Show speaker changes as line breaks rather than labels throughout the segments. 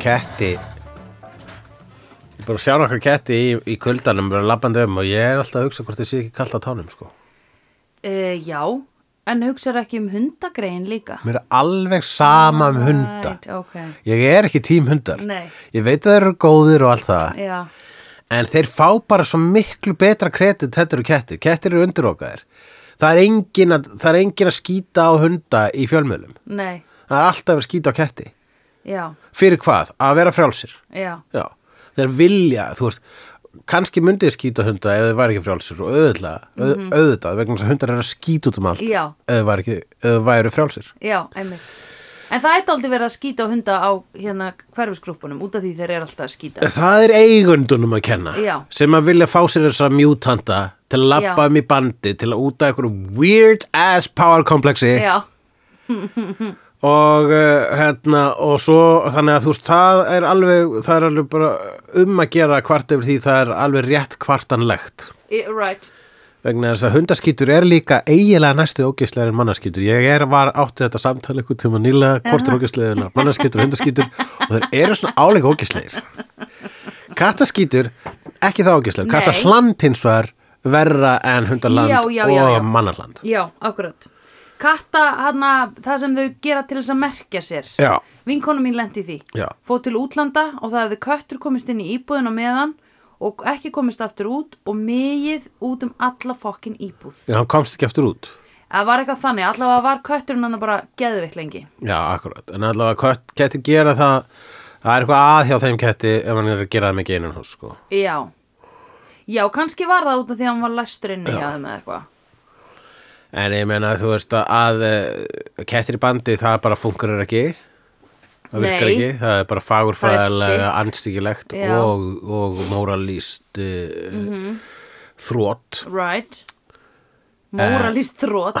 ketti Ég er bara að sjá nokkra ketti í, í kuldanum bara labbandi um og ég er alltaf að hugsa hvort þið sé ekki kalt á tánum sko.
Uh, já, en hugsar ekki um hundagrein líka.
Mér er alveg sama um hunda
Right, ok,
Ég er ekki tím hundar
Nei.
Ég veit að þeir eru góðir og allt það
já,
En þeir fá bara svo miklu betra kredit þetta eru kettir Kettir eru undirókaðir Það er engin að, það er engin að skýta á hunda í fjölmiðlum
nei,
Það er alltaf að skýta á ketti
já,
Fyrir hvað? Að vera frjálsir
já,
Já, þeir vilja, þú veist, kannski myndið skýta hunda ef þeir væri ekki frjálsir og auðvitað, mm auðvitað, vegna þess að hundar eru að skýta út um allt
Mhm. Já.
ef þeir væri, ekki, ef þeir væri frjálsir.
já, einmitt. En það er aldrei verið að skýta á hunda á hérna hverfisgrúppunum út af því þeir eru alltaf að skýta.
Það er eigundunum að kenna
Já.
sem að vilja fá sér þessa mjútanta til að
Já.
labba um í bandi, til að úta einhverju weird ass power kompleksi
Já,
og uh, hérna og svo þannig að þú veist, það er alveg, það er alveg bara um að gera kvart yfir því það er alveg rétt kvartanlegt.
i- right,
vegna þess að hundaskítur er líka eiginlega næstu ógislega en mannaskítur ég er var átti þetta samtali ykkur til maður nýla hvort er ógislega en mannaskítur og hundaskítur og þeir eru svona áleika ógislegir kattaskítur ekki það ógislega,
Nei.
kattaland hins vegar verra en hundaland
Já, já, já, já.
og mannaland
já, akkurat. Katta, hana, það sem þau gera til þess að merkja sér.
já,
Vinkonu mín lendi því.
Já.
Fór til útlanda og það hefði köttur komist inn í íbúðin á meðan og ekki komist aftur út og megið út um alla fokkin íbúð.
já, hann komst ekki aftur út
Það var eitthvað þannig, allavega var kötturinn hann bara geðveikt lengi.
já, akkurat, en allavega kött, kettir gera það það er eitthvað að hjá þeim ketti ef hann er að gera það mikið innan hús sko.
Já. Já, kannski var það út af því að hann var læstur inn í hjá þeim eða eitthvað.
En ég meina þú veist að, að eh, kettir í bandi það bara funkarir ekki það virkar
Nei.
ekki, það er bara fagurfræðilega
Það
anstíkilegt
Já. Mhm.
og, og moralíst uh, þrótt
Right.
Eh.
Móralist þrótt.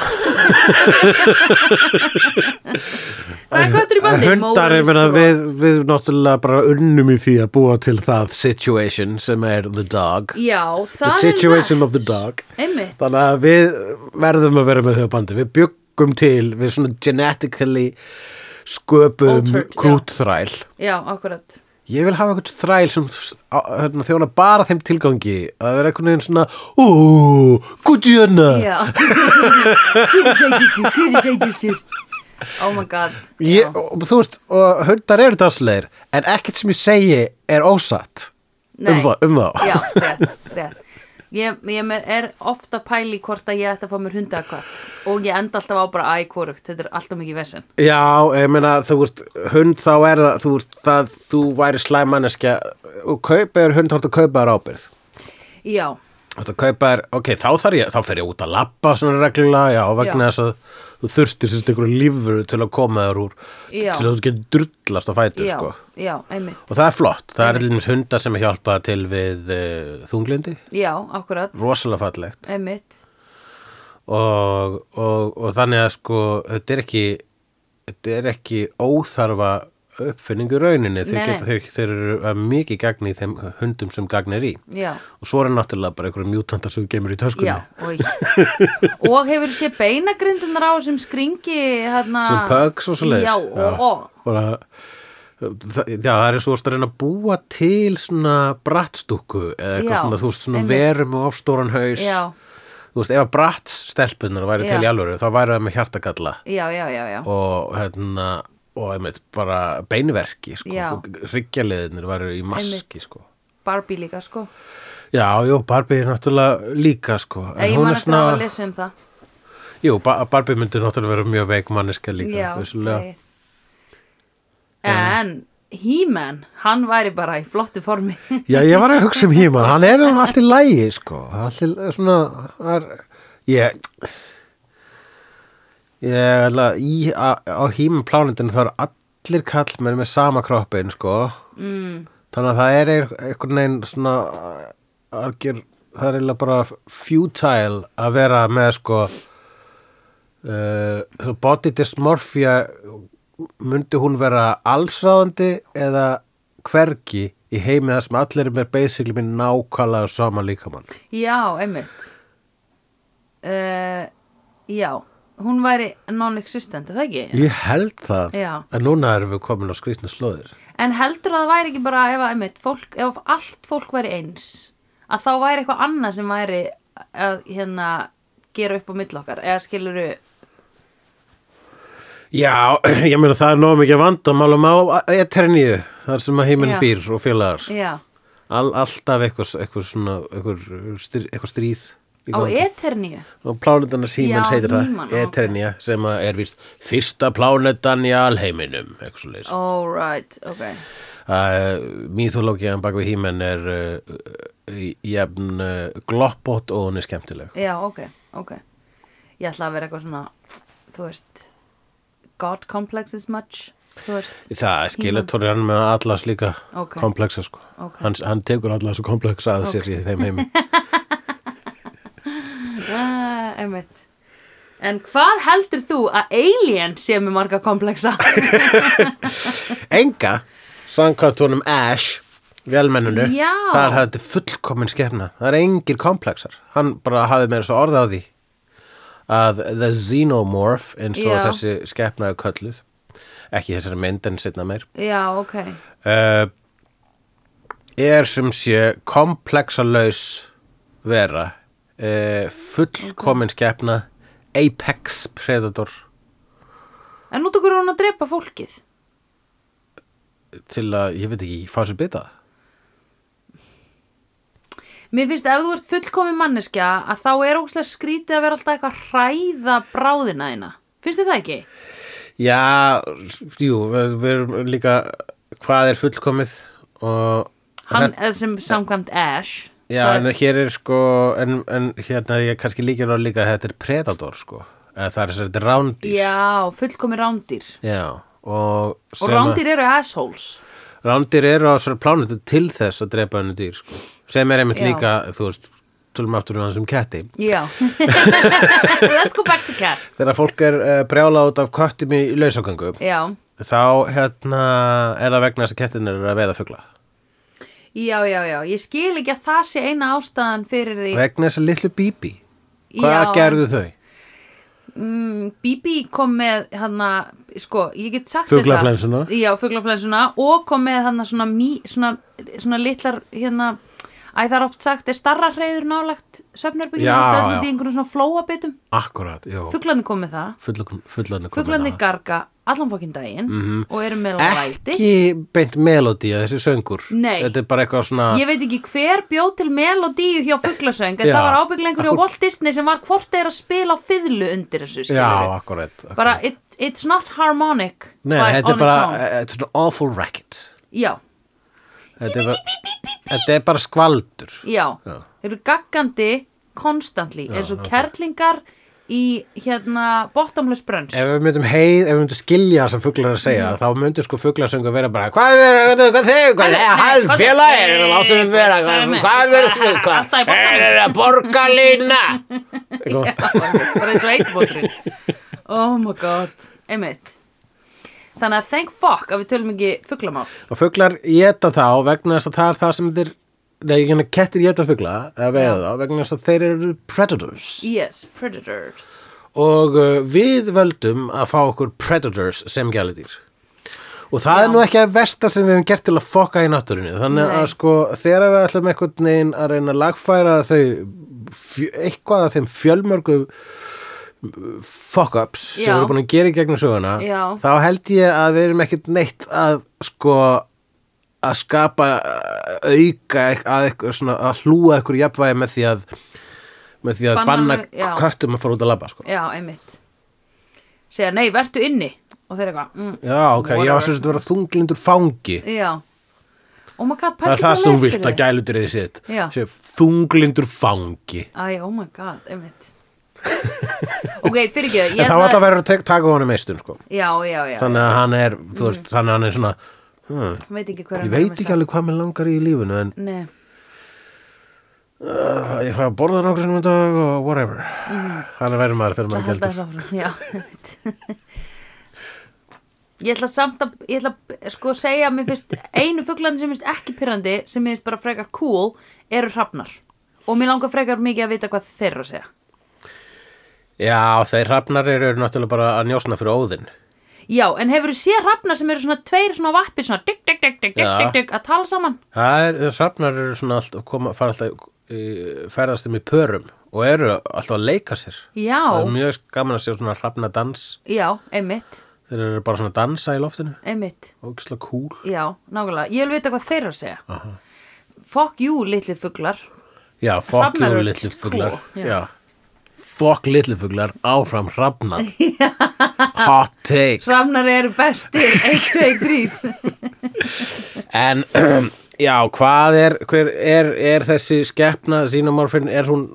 Hvað er köttur í bandi?
Eh, Hundar, ég
Moralist
meina
þrot.
við, við náttúrulega bara unnum í því að búa til það situation sem er the dog
Já, það
the
er
situation
rétt.
of the dog
Einmitt.
þannig að við verðum að vera með þau á bandi við byggum til, við svona genetically sköpum
Altered, já.
krútþræl
Já, akkurat.
Ég vil hafa eitthvað þræl sem á- hérna, þjóna bara þeim tilgangi að vera einhvern veginn svona Ó, gudjörna
Já. Kyrrisækjustur, kyrrisækjustur. Oh my god.
ég, og, Þú veist, og hundar eru dansleir en ekkert sem ég segi er ósatt um
Nei.
þá, um þá.
Já, rétt, rétt. Ég, ég mer- er ofta pæli hvort að ég ætti að fá mér hundakvatt og ég enda alltaf á bara æ, hvorugt, þetta er alltaf mikið vesen.
Já, ég meina, þú veist, hund þá er það, þú veist, það þú væri slæmanneskja og kaupir hund þá ertu að kaupa þér ábyrð
Já,
Þetta kaupa er, ok, þá þarf ég, þá fer ég út að labba svona reglulega, já, vegna
Já.
þess að þú þurftir sérst einhverju lífur til að koma þér úr,
Já.
til að þú getur drullast á fætur,
já,
sko.
já, einmitt.
Og það er flott, það er einhverjum hundar sem hjálpa til við uh, þunglindi,
Já, akkurat,
rosalega fallegt
einmitt.
og, og, og þannig að sko, þetta er ekki, þetta er ekki óþarfa uppfinningu í rauninni, þeir,
Nei, nei.
geta, þeir, þeir eru að mikið gagni í þeim hundum sem gagnir í.
Já,
Og svo er náttúrulega bara einhverjum mjútantar sem við gemur í töskunni.
já, oi. Og hefur sé beinagrindunar á sem skringi, hérna.
sem pugs og svo leiðis
Já, og,
bara, það, já, það er svo að reyna að búa til svona brattstúku eða eitthvað
Já,
svona, þú veist, svona
einmitt.
verum og ofstóran haus
Já.
þú veist, ef að brattstelpunar væri til
Já.
í alvöru, þá væri það með hjartagalla
já, já, já, já.
og hérna og einmitt bara beinverki
Já.
sko, hryggjaliðinir væri í maski
Einmitt.
sko.
Barbie líka, sko.
já, jú, Barbie er náttúrulega líka sko,
En ég man eftir að hafa lesið um það.
jú, Ba- Barbie myndi náttúrulega vera mjög veik manneska líka
Já,
vissulega.
ok. En He-Man, hann væri bara í flottu formi.
Já, ég var að hugsa um Híman, hann er hann allt í lægi, sko, allt í svona, það er, ég, ég ætla að, í, á, á Híman plánundinu þá eru allir kallmenn með sama kroppin, sko,
mm,
þannig að það er ein- einhvern veginn svona, algjör, það er eiginlega bara futile að vera með, sko, uh, body dysmorphia, myndi hún vera allsráðandi eða hvergi í heimi það sem allir er með basically með nákvæmlega sama líkamann
Eh, já, einmitt. Uh, já, hún væri non-existent, er það ekki?
Ég held það
Já.
En núna erum við komin á skrýtna slóðir
En heldur að það væri ekki bara ef, að, einmitt, fólk, ef allt fólk væri eins að þá væri eitthvað annað sem væri að hérna gera upp á milli okkar eða skilur
Já, ég meina það er nóg mikið vandamálum á eterníu Þar sem að heiminn
Já.
býr og félagar
já,
All, Alltaf eitthvað, eitthvað svona eitthvað, stríð, eitthvað stríð í
á
gangi.
eterníu
og plánetan Símans
Já,
heitir
Síman,
það
ok.
Eternia sem að er vist fyrsta plánetan í alheiminum eitthvað svo leys
All right, ok
mýþológiðan bak við Hímen er uh, jafn uh, gloppót og hún er skemmtileg
Já, ok, ok Ég ætla að vera eitthvað svona þú veist God complex is much þú veist,
það er skeletóri hann með allas líka
Ok.
komplexa sko
Ok.
hann, hann tekur allas og komplexa að sér í þeim heimi
uh, einmitt En hvað heldur þú að alien sé með marga komplexa?
enga, samkvæmt honum Ash velmenninu,
Já.
það er þetta fullkomin skerna, það er engir komplexar hann bara hafði meira svo orða á því að the xenomorph eins og
Já.
þessi skepna er kölluð ekki í þessari mynd en setna meir
Já, ok
uh, er sem sé komplexalaus vera uh, fullkomin skepna apex predator
En út okkur er hún að drepa fólkið
til að, ég veit ekki, fá sér bitað
Mér finnst ef þú ert fullkomin manneskja að þá er ókslega skrítið að vera alltaf eitthvað að hræða bráðina þína Finnst þið það ekki?
Já, jú, við við erum líka hvað er fullkomið og
Hann, eða sem samkvæmt Ash
já,
það
en
er-
hér er sko en, en hérna ég kannski líka ná líka að þetta er predator sko, eða það er þess að þetta er rándýr
Já, fullkomin rándýr
Já, og,
Og rándýr eru assholes
rándýr eru á svona plánutu til þess að drepa hennu dýr sko, sem er einmitt
Já.
líka þú veist, tölum aftur um það sem ketti
Já Let's go back to cats
þegar fólk er uh, brjála út af köttum í lausagöngu
Já,
þá hérna er það vegna þess að kettin er að veða fugla
já, já, já Ég skil ekki að það sé eina ástæðan fyrir því
vegna þess að litlu bíbí hvað
Já.
gerðu þau?
mm, Bibi kom með hana, sko, ég get sagt
Fuglaflensuna.
þetta Já, fuglaflensuna og kom með hana svona, mí, svona, svona litlar hérna Æ, það er oft sagt, er starra hreyður nálægt söfnarbyggjum,
Já,
alltaf
já. Sko.
alltaf í einhverjum svona flóabitum
Akkurat, já
Fuglarnir kom með það
Fuglandi
Fuglarnir garga allan fókinn daginn
Mhm.
og eru með læti
Ekki beint melodí að þessi söngur
Nei.
Þetta er bara eitthvað svona
Ég veit ekki hver bjóð til melodíu hjá fugglasöng en
Já.
það var ábygglega einhverju á Walt Disney sem var hvort þeir að spila á fiðlu undir þessu
Já,
skilurðu.
akkurat, akkurat.
bara it, it's not harmonic
Nei,
by-
þetta
on
er
its
bara eh,
own.
Þetta er svona awful racket
Já,
Þetta er bara, þetta er bara skvaldur
já,
Já.
þeir eru gaggandi konstantli eins og
ok.
kerlingar í hérna bottomless brunch
Ef við myndum heyr, ef við myndum skilja það sem fuglar er að segja
Mm.
þá myndur sko fuglasöngu vera bara Hvað er þetta, hvað þig, hvað
Nei,
er
nei,
hann
hvað-
félagir
nei,
Láttu við vera,
hvað er með-
hvað er
hvað-
þetta
alltaf í
Hvað
boltanum.
er þetta, borgarlína Eitthvað.
bara eins og eitbótrin Oh my god, einmitt Þannig að thank fuck að við tölum ekki fugglamál
Og fuglar geta þá vegna þess að það er það sem þeir Nei, ég kannar kettir geta fugla eða veiða
Já.
þá vegna þess að þeir eru predators
Yes, predators
og uh, við völdum að fá okkur predators sem gæludýr og það er nú ekki að versta sem við höfum gert til að fokka í náttúrinu þannig
Nei.
að sko þegar við ætlum einhvern veginn að reyna að lagfæra þau fjö- eitthvað af þeim fjölmörgu uh, fuck-ups sem
Já.
við erum búin að gera í gegnum söguna
Já.
þá held ég að við erum ekkert neitt að sko að skapa uh, auka eit- að, eitthvað, svona, að hlúa eitthvað jafnvægi með því að með því að banna,
Banna- já.
köttum að fara út að labba sko.
Já, einmitt Segja, nei, vertu inni Og þeir eitthvað mm,
Já, ok, ég
whatever.
var sérst að vera þunglindur fangi
Já Oh my god,
Það
pældi
er það
hvað
sem
leið
þú vilt
fyrir
að gæludrið sitt
Já.
Sé, Þunglindur fangi
Æ, oh my god, einmitt Ok, fyrir ekki það
En þá ætla að vera að tek- taka honum meistun sko.
Já, já, já Mm.
Þannig að hann er, þú veist, þannig að hann er svona hmm,
Ég veit ekki hver
Ég veit ekki alveg hvað mér langar í lífinu En
Nei,
uh, ég fæ að borða nokkur sem dag og whatever Þannig verður maður þegar
Mm. það
maður
held
gældur
þess áfram Já, einmitt Ég ætla samt að, ég ætla að sko segja að mér finnst einu fuglandi sem mér finnst ekki pyrrandi sem mér finnst bara frekar cool eru hrafnar og mér langar frekar mikið að vita hvað þeir eru að segja
Já, þeir hrafnar eru náttúrulega bara að njósna fyrir óðinn.
Já, en hefur þú séð hrafnar sem eru svona tveir svona á vappi svona dygg, dygg, dygg, dygg,
Já.
dygg, dygg að tala saman?
Það er, hrafnar eru svona alltaf, koma, fara alltaf, e, ferðast um í pörum og eru alltaf að leika sér.
Já,
Það er mjög gaman að sjá svona hrafnadans.
já, einmitt,
Þeir eru bara svona að dansa í loftinu.
einmitt,
Ógislega cool.
já, nákvæmlega. Ég vil vita hvað þeir eru að segja.
Aha.
Fuck you, litli fuglar.
Já, fokk
Hrafnar
jú
eru
litli
cool,
fuglar.
já.
Já. Fokk litli fuglar áfram hrafnar. Hot take.
Hrafnar eru bestir, 1, 2, 3.
En já, hvað er, hver, er, er þessi skepna sínumorfinn, er hún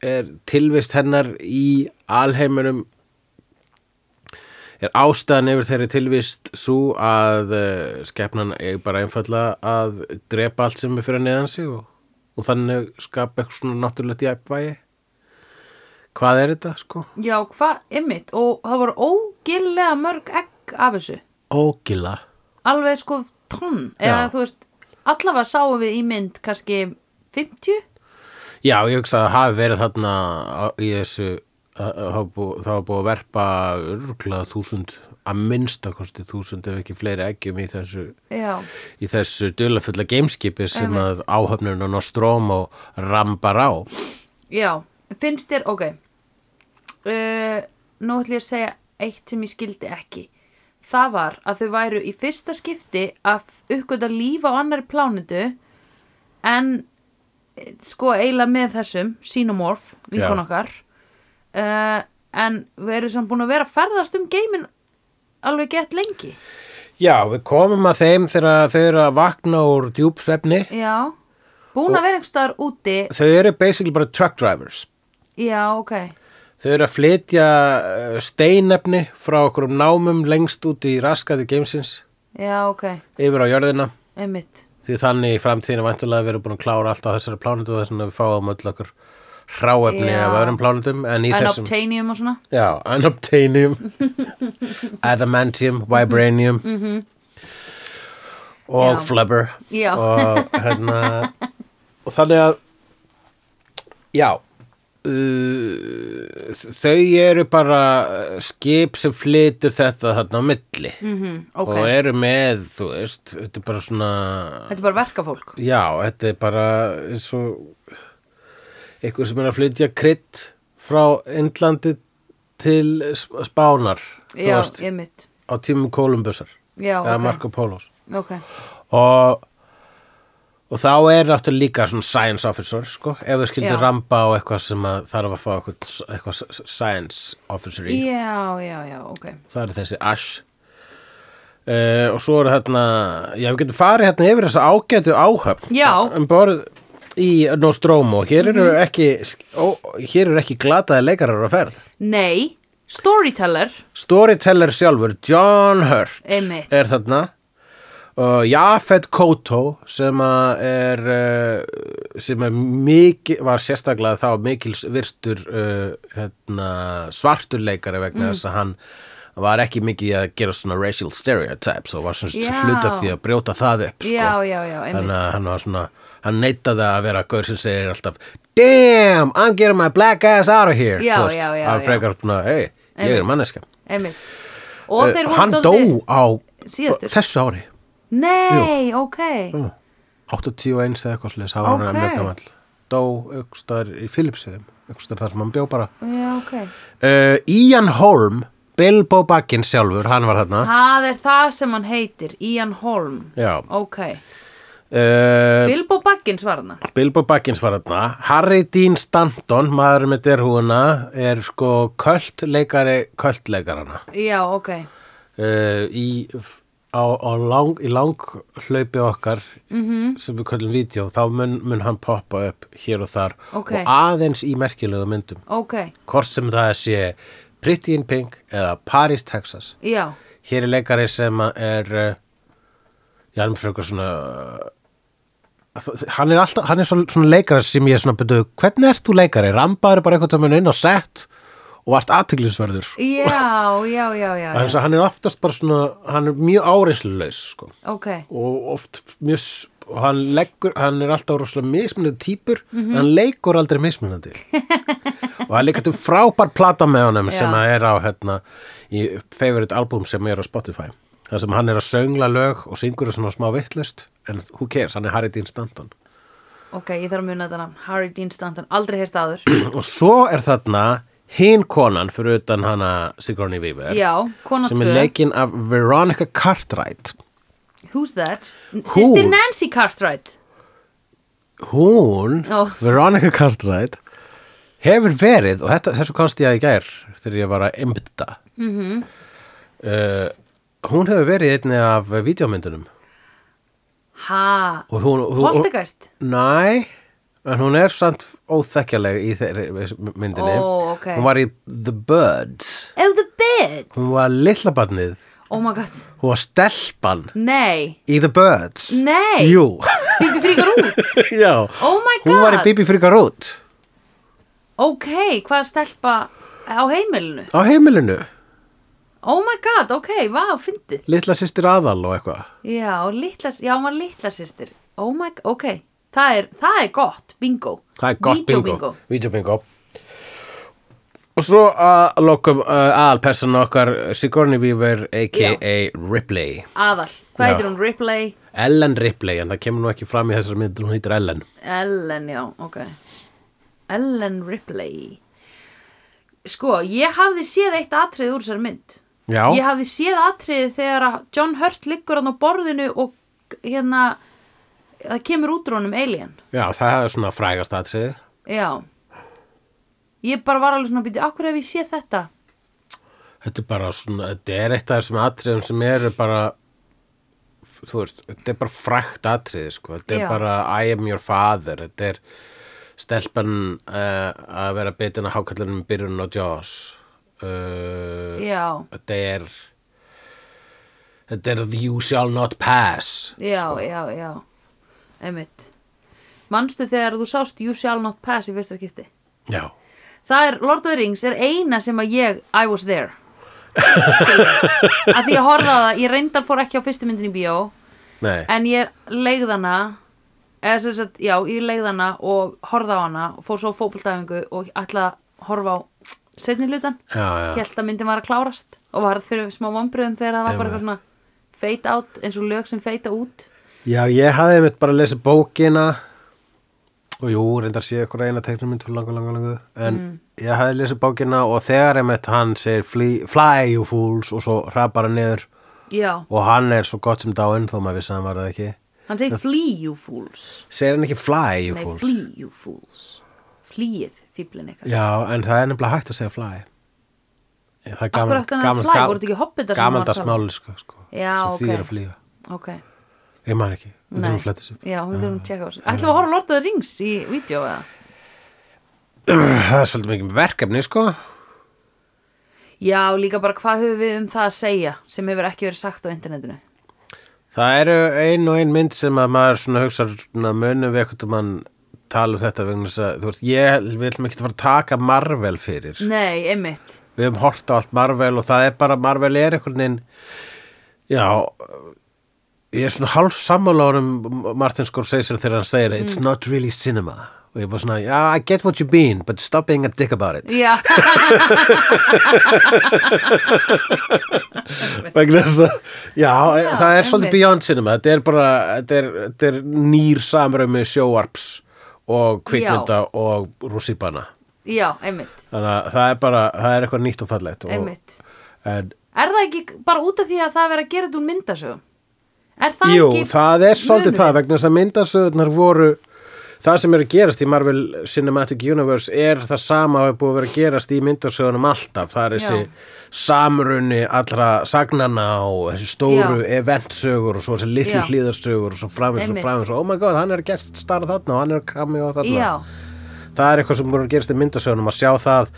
er tilvist hennar í alheimunum er ástæðan yfir þeirri tilvist svo að uh, skepnan er bara einfallega að drepa allt sem er fyrir neðan sig og, og þannig skapa eitthvað svona náttúrulegt jæfnvægi hvað er þetta sko?
Já, hvað, einmitt, og það voru ógillega mörg egg af þessu.
Ógila
Alveg sko tonn, eða
Já.
þú veist, allavega sáum við í mynd kannski 50?
Já, ég hugsa að það hafi verið þarna á- í þessu að- að hafa bú- það var búið að verpa örglað þúsund, að minnsta kosti þúsund ef ekki fleiri eggjum í þessu
Já,
í þessu duðlafulla gameskipi sem að áhöfnun og Nostromo rambar á
Já, finnst þér, ok uh, Nú ætlum ég að segja eitt sem ég skildi ekki Það var að þau væru í fyrsta skipti að uppgöta líf á annari plánetu en eh, sko eiginlega með þessum Xenomorph, vinkon
Já.
okkar uh, en við erum samt búin að vera að ferðast um geimin alveg gett lengi
Já, við komum að þeim þegar þau eru að vakna úr djúpsvefni
Já, búin að vera einhvers staðar úti
þau eru basically bara truck drivers
Já, ok
Þau eru að flytja eh, steinefni frá okkur um námum lengst út í raskati gamesins
Já, ok,
yfir á jörðina
einmitt
Því þannig í framtíðinu vantulega verið búin að klára allt á þessari plánutu og þess vegna við fáum öll okkur hráefni
Já.
af öðrum plánutum en í
En
þessum
obtainium og svona
Já, unobtainium adamantium, vibranium og
Mhm. Já.
flubber
Já.
og hérna og þannig að já uh, þau eru bara skip sem flytur þetta þarna á milli
mm Ok,
og eru með, þú veist, þetta er bara svona
þetta er bara verkafólk
Já, þetta er bara eins og eitthvað sem er að flytja krydd frá Indlandi til Sp- Spánar þú
Já,
veist,
ég mitt
á tímum Kolumbusar
Já,
eða
ok.
Marco Polos
Ok,
og, og þá er náttúrulega líka svona science officer sko, ef við
Já.
skildum ramba á eitthvað sem að þarf að fá eitthvað, eitthvað s- science officer í
já, já, já, ok
það er þessi Ash Uh, og svo eru hérna já, við getum farið hérna yfir þessa ágætu áhöfn
Já.
um borð í Nostromo hér eru ekki ó, hér eru ekki glataði leikarar á ferð
Nei, storyteller
storyteller sjálfur, John Hurt
Einmitt.
er þarna og Jafet Koto sem að er uh, sem er mikið var sérstaklega þá mikils virtur uh, hérna, svartur leikari vegna
Mm.
þess að hann var ekki mikið að gera svona racial stereotypes og var svona
Já.
hluta því að brjóta það upp sko.
Já, já, já,
þannig
einmitt
að hann var svona hann neitaði að vera gaur sem segir alltaf damn, I'm getting my black ass out of here
Já,
Þú veist,
já, já,
hann
já.
frekar svona, hey, ég er manneska
Einmitt Og
Eh,
þeir
hann
voru
dó
dálítið-
á
síðastur.
þessu ári
Nei, ok
81 eða eitthvað sliðis hafa
Ok.
hann megamall dó aukstaðar í Philipsiðum aukstaðar þar sem hann bjó bara
Já, ok
uh, Ian Holm, Bilbo Baggins sjálfur hann var þarna
Það er það sem hann heitir, Ian Holm
Já. Eh.
Ok,
uh,
Bilbo Baggins var hana
Bilbo Baggins var þarna Harry Dean Stanton, maður með derhúuna er sko kvöldleikari kvöldleikarana
Já, ok
uh, í, á, á lang, í lang hlaupi okkar -hmm. sem við kallum vídeo þá mun, mun hann poppa upp hér og þar
Ok.
og aðeins í merkilegu myndum
Ok,
hvort sem það sé Pretty in Pink eða Paris, Texas
já
hér er leikari sem að er uh, já, hann er fyrir eitthvað svona uh, hann er alltaf, hann er svona, svona leikari sem ég er svona byrju, hvernig ert þú leikari? Rambaður bara eitthvað tímann inn á sett og varst aðteglisverður
Já, já, já, já,
Þannig
já.
að hann er oftast bara svona, hann er mjög áreinslulegs sko.
Ok,
og oft mjög, s- og hann,
Mhm.
leggur, hann er alltaf rosalega mismunandi típur en hann leikur aldrei mismunandi og það er líka til frábær plata með honum
Já.
sem að er á hérna, í favorite album sem er á Spotify þar sem hann er að söngla lög og syngur það svona smá vittlust en who cares, hann er Harry Dean Stanton
ok, ég þarf að muna þetta nafn Harry Dean Stanton, aldrei heyrst áður
og svo er þarna hinn konan fyrir utan hana Sigourney Weaver
já, kona
sem er
2,
leikinn af Veronica Cartwright
who's that? Sýstir Nancy Cartwright
hún,
Já.
Veronica Cartwright hefur verið og þetta, þessu komst ég að í gær þegar ég var að einbytta mm
Mhm.
hún hefur verið í einni af videómyndunum
ha,
og hún, og- og-
Poltergeist
næ, en hún er samt óþekkjaleg í þeirri myndinni
Ó, ok.
hún var í The Birds
oh the bit,
hún var litla barnið
oh my god
hún var stelpan
nei,
í The Birds
nei
jú,
Bíbi fríkar út
já
Oh my
hún var í
God.
Bibi Frikar út
Ok, hvað stelpa á heimilinu?
á heimilinu,
Oh my god, ok, vá, fyndið
litla systir aðal og eitthvað
Já, litla, já, hún var litla sýstir Oh my god, ok Það er, það er gott, bingo
Það er gott
Vídeó
bingo. Vídeó bingo. Og svo að lokum uh, aðalpersonu okkar Sigourney Weaver a.k.a. Ripley.
Aðal, hvað
Já.
heitir hún? Ripley
Ellen Ripley, en það kemur nú ekki fram í þessari mynd, hún heitir Ellen.
Ellen, já, ok Ellen Ripley Sko, ég hafði séð eitt atrið úr þessari mynd
Já,
Ég hafði séð atriðið þegar að John Hurt liggur hann á borðinu og hérna það kemur út úr honum alien.
já, það er svona frægast aðtriðið.
Já. Ég bara var alveg svona býtið, akkur hef ég séð þetta?
Þetta er bara svona, þetta er eitt af þessum aðtriðum sem eru bara, þú veist, þetta er bara frægt aðtriðið, sko. Þetta er
Já.
bara I am your father, þetta er stelpan uh, að vera bitin að hákallunum byrjun og Jaws. Uh,
Já,
þetta er þetta er the you shall not pass
já, já, já. Einmitt. Manstu þegar þú sást You Shall Not Pass í fyrsta skipti?
já,
Það er, Lord of the Rings er eina sem að ég, I was there. Skilur. Að því ég horfði á það, ég reyndar fór ekki á fyrstu myndin í bíó.
nei,
en ég leigð hana eða sem sagt, já, ég leigð hana og horfði á hana og fór svo á fótboltæfingu og ætla að horfa á setni hlutan,
já, já,
held að myndin var að klárast og varð fyrir smá vombriðum þegar það var bara eitthvað svona fade out eins og lög sem feita út
já ég hafði einmitt bara að lesa bókina og jú, reyndar sé ykkur eina teiknumind fyrir langa, langa, langa en
Mm.
ég hafði að lesa bókina og þegar einmitt hann segir fly, fly you fools og svo hrapar hann niður
já,
og hann er svo gott sem dáinn þó maður vissi að hann var það ekki
hann segir flee you fools
segir hann ekki fly you
nei,
fools
flee you fools flýið fíblin eitthvað
já, en það er nefnilega hægt að segja fly Já, það er
Akkur
gaman,
átti hann að fly, voru þetta ekki hobbitar sem hann var að
gamaldags
tala um?
máliska sko, sem
Já,
þýðir
ok.
að flýja
ok,
Ég man ekki, við þurfum að fletta þessu upp. Ah.
já, við þurfum að tjekka á þessu ætlum við að horfa á Lord of the Rings í vídeo eða?
Það er svolítið mikið verkefni, sko.
Já, líka bara hvað höfum við um það að segja sem hefur ekki verið sagt á internetinu.
Það eru ein og ein mynd sem að maður svona hugsa svona munum við eitthvað mann tala um þetta vegna þess að, þú veist, ég við ætlum ekki að fara að taka Marvel fyrir.
Nei, einmitt.
Við höfum hort á allt Marvel og það er bara, Marvel er einhvern veginn, já, ég er svona hálf sammála honum Martin Scorsese þegar hann segir, it's not really cinema. Og ég er bara svona, yeah, I get what you mean, but stop being a dick about it.
Já,
vegna þess að, já, e, það er svolítið
einmitt.
beyond cinema, þetta er bara þetta er, þetta er nýr samrömi sjóarps og kvikmynda og rússíbana
já, einmitt.
þannig að það er bara, það er eitthvað nýtt og fallegt og,
Einmitt.
en,
Er það ekki bara út af því að það er verið að gera þetta úr myndasögum? Er það
jú,
ekki
það er svolítið það
munurinn?
vegna þess að myndasöðunar voru það sem er að gerast í Marvel Cinematic Universe er það sama að búið að vera að gerast í myndasöðunum alltaf, það er þessi
Já.
samrunni allra sagnana og þessi stóru eventsögur og svo þessi litlu
Já.
hlýðarsögur og svo framins og
Einmitt.
framins og oh my god, hann er gest starf þarna og hann er kami og þarna
Já,
það er eitthvað sem búið að gerast í myndasögunum að sjá það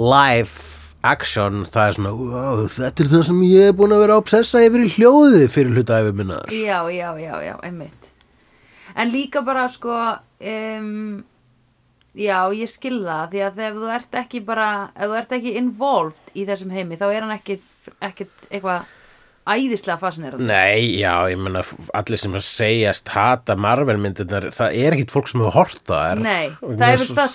live action, það er svona wow, þetta er það sem ég er búin að vera að obsessa yfir í hljóði fyrir hluta yfir minnar
já, já, já, já, einmitt. En líka bara sko, um, já, ég skil það því að ef þú ert ekki bara, ef þú ert ekki involved í þessum heimi þá er hann ekkit, ekkit eitthvað æðislega fascinerandi
Nei, já, ég meina f- allir sem að segjast hata Marvel myndirnar það er ekkit fólk sem hefur hort á þær
Nei,
Og
það,
ég
hefur,
svo-
það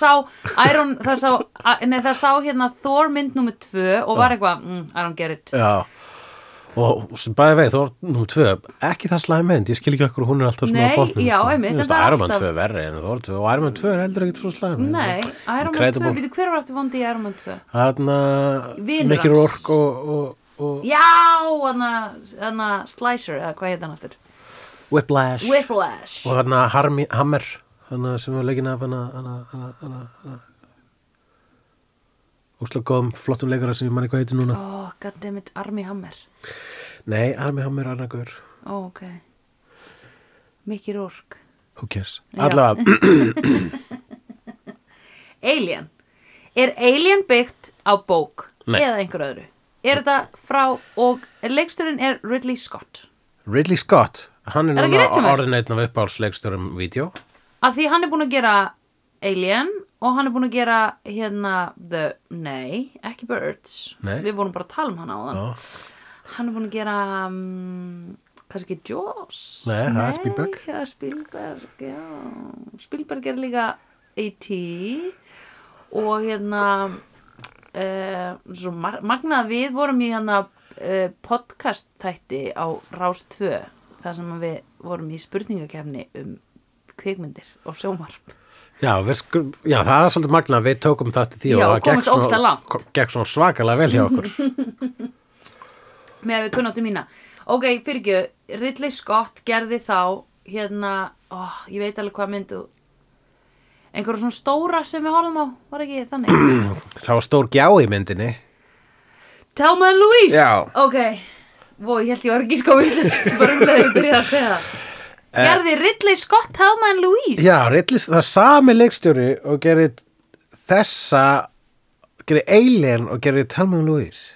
sá Iron, það sá, a- nei, það sá hérna Thor mynd nummer 2 og var eitthvað mm, I don't get it
Já Og sem bæði veið, þó er nú tvö ekki það slæmi mynd, ég skil ekki okkur hún er alltaf svona
Nei,
á botnum,
já,
sko. Mér
einmitt, en
finnst
það er
Iron Man
alltaf-
2 verri en Thor 2 og Iron Man 2 er heldur ekkit svo slæmi
Nei, Iron Man 2,
Incredible.
býtu hver var aftur vondi í Iron Man 2?
Þarna
Vinur
Mickey
hans.
Rourke og, og, og
Já, hann að Slicer, eða hvað heit hann aftur?
Whiplash
Whiplash
og þarna Harmi, Hammer hana sem var leikinn af hana hana, hana, hana, hana úrslega góðum flottum leikara sem ég manni hvað heitir núna
Oh, goddammit, Armie Hammer
Nei, Armi Hammer er annakur
Ó, ok Mickey Rourke
Who cares?
Já.
Allavega,
Alien Er Alien byggt á bók?
Nei.
Eða einhver öðru? Er þetta frá, og leiksturinn er Ridley Scott
Ridley Scott hann er
Er það ekki rétt hjá
núna
mér?
orðin einn af uppáhaldsleikstjórum vídeo
Af því hann er búin að gera Alien og hann er búin að gera hérna The, nei, ekki Birds
Nei.
Við vorum bara að tala um hann á þann
Já.
Hann er búin að gera um, kannski Jaws
Nei, það er Spielberg.
það er Spielberg, já Spielberg er líka A.T. og hérna uh, svo mar magnað við vorum í hérna uh, podcast þætti á Rás 2 þar sem að við vorum í spurningakefni um kvikmyndir og sjómarp
Já, við, skur- já, það er svolítið magna við tókum það til því
Já,
og
og
það gekk
komumst ógeðslega
svona,
langt.
ko- gekk svona svakalega vel hjá okkur
með að við kunnáttum mína ok, fyrirgjöðu, Ridley Scott gerði þá hérna, ó, ég veit alveg hvað myndu einhverja svona stóra sem við horfum á var ekki þannig
Það var stór gjá í myndinni
Thelma and Louise,
Já.
ok Vó, ég held ég var ekki sko villust bara um leður að byrja að segja það gerði Ridley Scott Thelma and Louise
Eh. Já, Ridley, það er sami leikstjóri og gerir þessa gerir Alien og gerir Thelma and Louise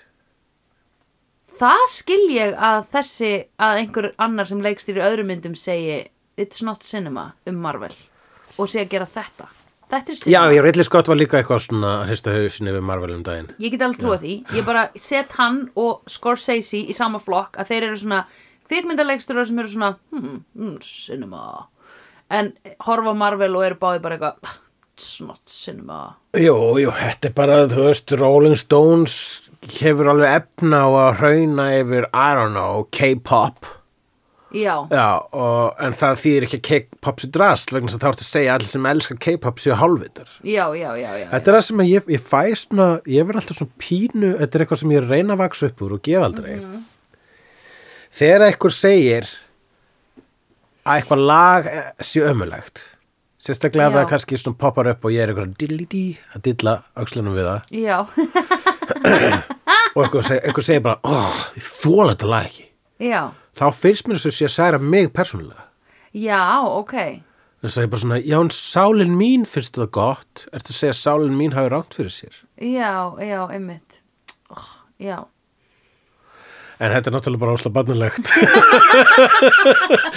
það skil ég að þessi að einhver annar sem leikstýri öðrum myndum segi It's not cinema um Marvel og sé að gera þetta þetta er
Já,
cinema
ég Ridley Scott var líka eitthvað svona að hrista hausinu við Marvel um daginn
Ég get alveg trúa því, ég bara set hann og Scorsese í sama flokk að þeir eru svona kvikmyndalegsturur sem eru svona hmm, hmm, cinema en horfa á Marvel og eru báði bara eitthvað it's not cinema
Jú, jú, þetta er bara, þú veist, Rolling Stones hefur alveg efna á að hrauna yfir, I don't know, K-pop
Já,
Já, og, en það þýðir ekki að K-pop sé drast vegna þess að þá ertu að segja að allir sem elskar K-pop séu hálfvitar
já, já, já, já, já.
Þetta er það sem að ég, ég fæ svona, ég verð alltaf svona pínu, þetta er eitthvað sem ég reyna að vaksa upp úr og gera aldrei. Þegar eitthvað segir að eitthvað lag eh, sé ömulegt, sérstaklega ef
Já.
það kannski svona poppar upp og ég er eitthvað dillidí að dilla öxlunum við það
Já,
og eitthvað, seg, eitthvað segir bara, oh, ég þóla þetta lag ekki.
já,
Þá finnst mér þess að sé að særa mig persónulega.
já, ok
Þess að ég bara svona, já, en sálin mín finnst þetta gott, ertu að segja að sálin mín hafi rátt fyrir sér?
Já, já, einmitt oh, Já,
En þetta er náttúrulega bara óslega barnilegt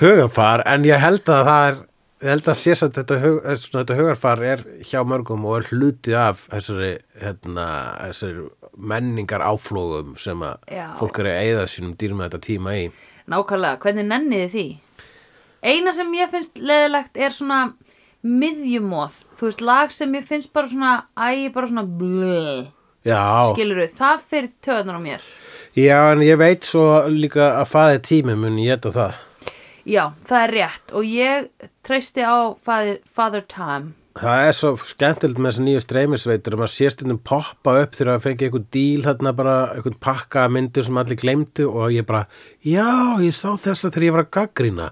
hugarfar, en ég held að það er ég held að sé samt þetta, hug, eh, svona, þetta hugarfar er hjá mörgum og er hluti af þessari, hérna, þessari menningar áflógum sem að
Já.
fólk er að eyða sínum dýrum þetta tíma í
nákvæmlega, hvernig nenniði því? Eina sem ég finnst leðilegt er svona miðjumóð, þú veist, lag sem ég finnst bara svona, æ, bara svona blöð,
Já,
skilur þau, það fyrir töðunar á mér.
já, en ég veit svo líka að faði tími muni ég þetta það
Já, það er rétt og ég treysti á Father, father Time.
Það er svo skemmtilegt með þessi nýju streymisveitur að maður sé stundum poppa upp þegar að fengi einhvern díl þarna bara einhvern pakka af myndir sem allir glemdu og ég bara já, ég sá þessa þegar ég var að gaggrýna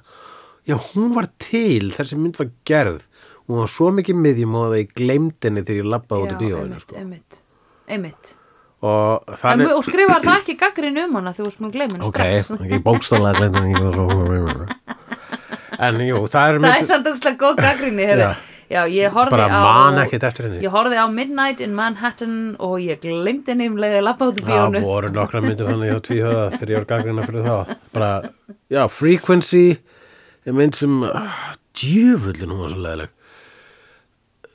já, hún var til þessi mynd var gerð hún var svo mikið miðjum og það ég glemdi henni þegar ég labbaði út í bíóinu
einmitt,
sko.
einmitt, einmitt.
og
En,
þannig
og skrifar það ekki gaggrin um hana þú veist mér glemin
ok,
strax.
ekki bókstálega glemdi henni ég var svo- en jú, það er
Það er samt ógstlega góð gaggrinni, heyrðu.
Já.
Já, ég horfði
bara
á...
man ekkert eftir henni
Ég horfði á Midnight in Manhattan og ég glemdi henni um leiðið lappa út í
Það
bíónu.
voru nokkra myndir þannig hjá tvíhöða þegar ég var gangrina fyrir þá. Bara, já, Frequency er mynd sem, ah, djöfullin hún var svo leðileg.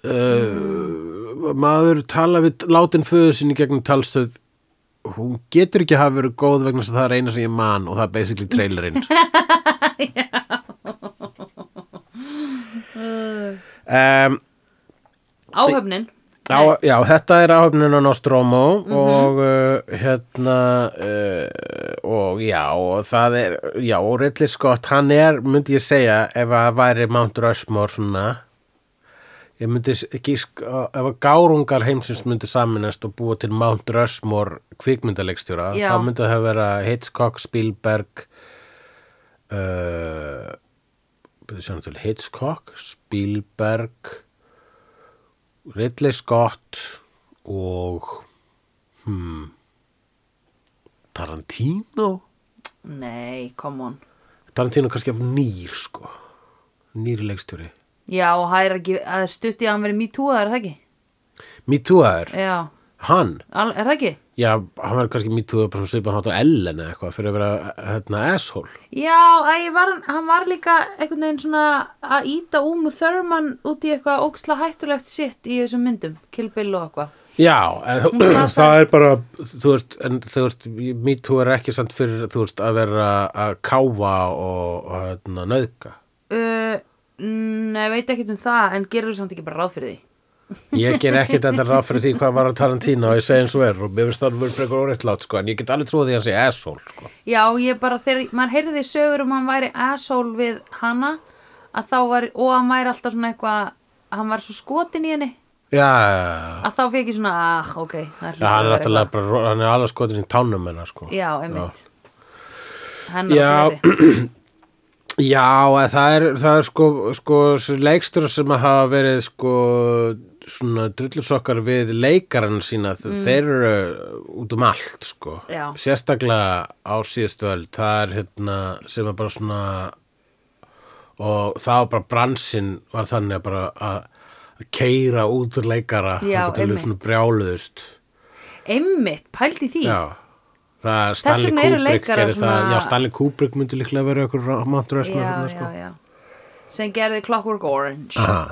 Eh, Uh, maður tala við látin föðu sinni gegnum talstöð hún getur ekki hafa verið góð vegna þess að það er eina sem ég man og það er basically trailerinn um,
Áhöfnin
á, Já, þetta er áhöfnin á Nostromo og uh, hérna uh, og já og það er, já, og Ridley Scott hann er, myndi ég segja, ef að það væri Mount Rushmore svona ég myndi s- gísk á- ef að gárungar heimsins myndi saminast og búa til Mount Rushmore kvikmyndaleikstjóra,
Já.
þá myndi það hafa verið Hitchcock, Spielberg uh, byrja sjónum til Hitchcock, Spielberg Ridley Scott og hmm, Tarantino
Nei, come on
Tarantino kannski af nýr sko nýr leikstjóri
Já, og það er ekki, að stutti að hann verið MeToo, er það ekki?
Me Too er,
Já,
hann
al, er það ekki?
já, hann verður kannski Me Too er bara svona svipað hátt á Ellen eða eitthvað fyrir að vera hérna asshole
Já, æ, var, hann- hann var líka einhvern veginn svona að íta Úmu Thurman út í eitthvað óksla hættulegt sitt í þessum myndum, Kill Bill og eitthvað.
Já, en
Hún
það,
slasaðist.
er bara þú veist, en þú veist Me Too er ekki samt fyrir, þú veist, að vera að káfa og, og hérna, nöðka
Uh, nei, veit ekkert um það, en gerur þú samt ekki bara ráð fyrir því?
Ég ger ekkert enda ráð fyrir því hvað var að Tarantino og ég segi eins og er og mér finnst það verið frekar óreittlátt sko en ég get alveg trúið því að hann sé asshole sko.
Já, ég bara, þegar maður heyrði sögur um að hann væri asshole við hana, að þá var, og hann væri alltaf svona eitthvað, hann var svo skotin í henni,
Já, já,
að þá fekk ég svona, ah, ok, það er
já, hann er
að vera
náttúrulega bara, ro- hann er alveg skotin í tánum hennar sko.
eitthvað. Já, einmitt. Hennar
Já.
og fleiri.
Já, að það er, það er sko, sko leikstur sem að hafa verið sko svona drullusokkar við leikarana sína mm. þeir eru út um allt sko
Já.
sérstaklega á síðustu öll það er hérna sem er bara svona og það var bara bransinn var þannig að bara að keira út úr leikara
Já,
þangað til þau
einmitt.
svona brjáluðust
Einmitt, pældi því.
Já, það er Stanley
vegna eru
Kubrick
leikarar
gerði það,
svona-
já Stanley Kubrick myndi líklega verið okkur ráttur
já,
sko.
já, já. sem gerði Clockwork Orange
Aha.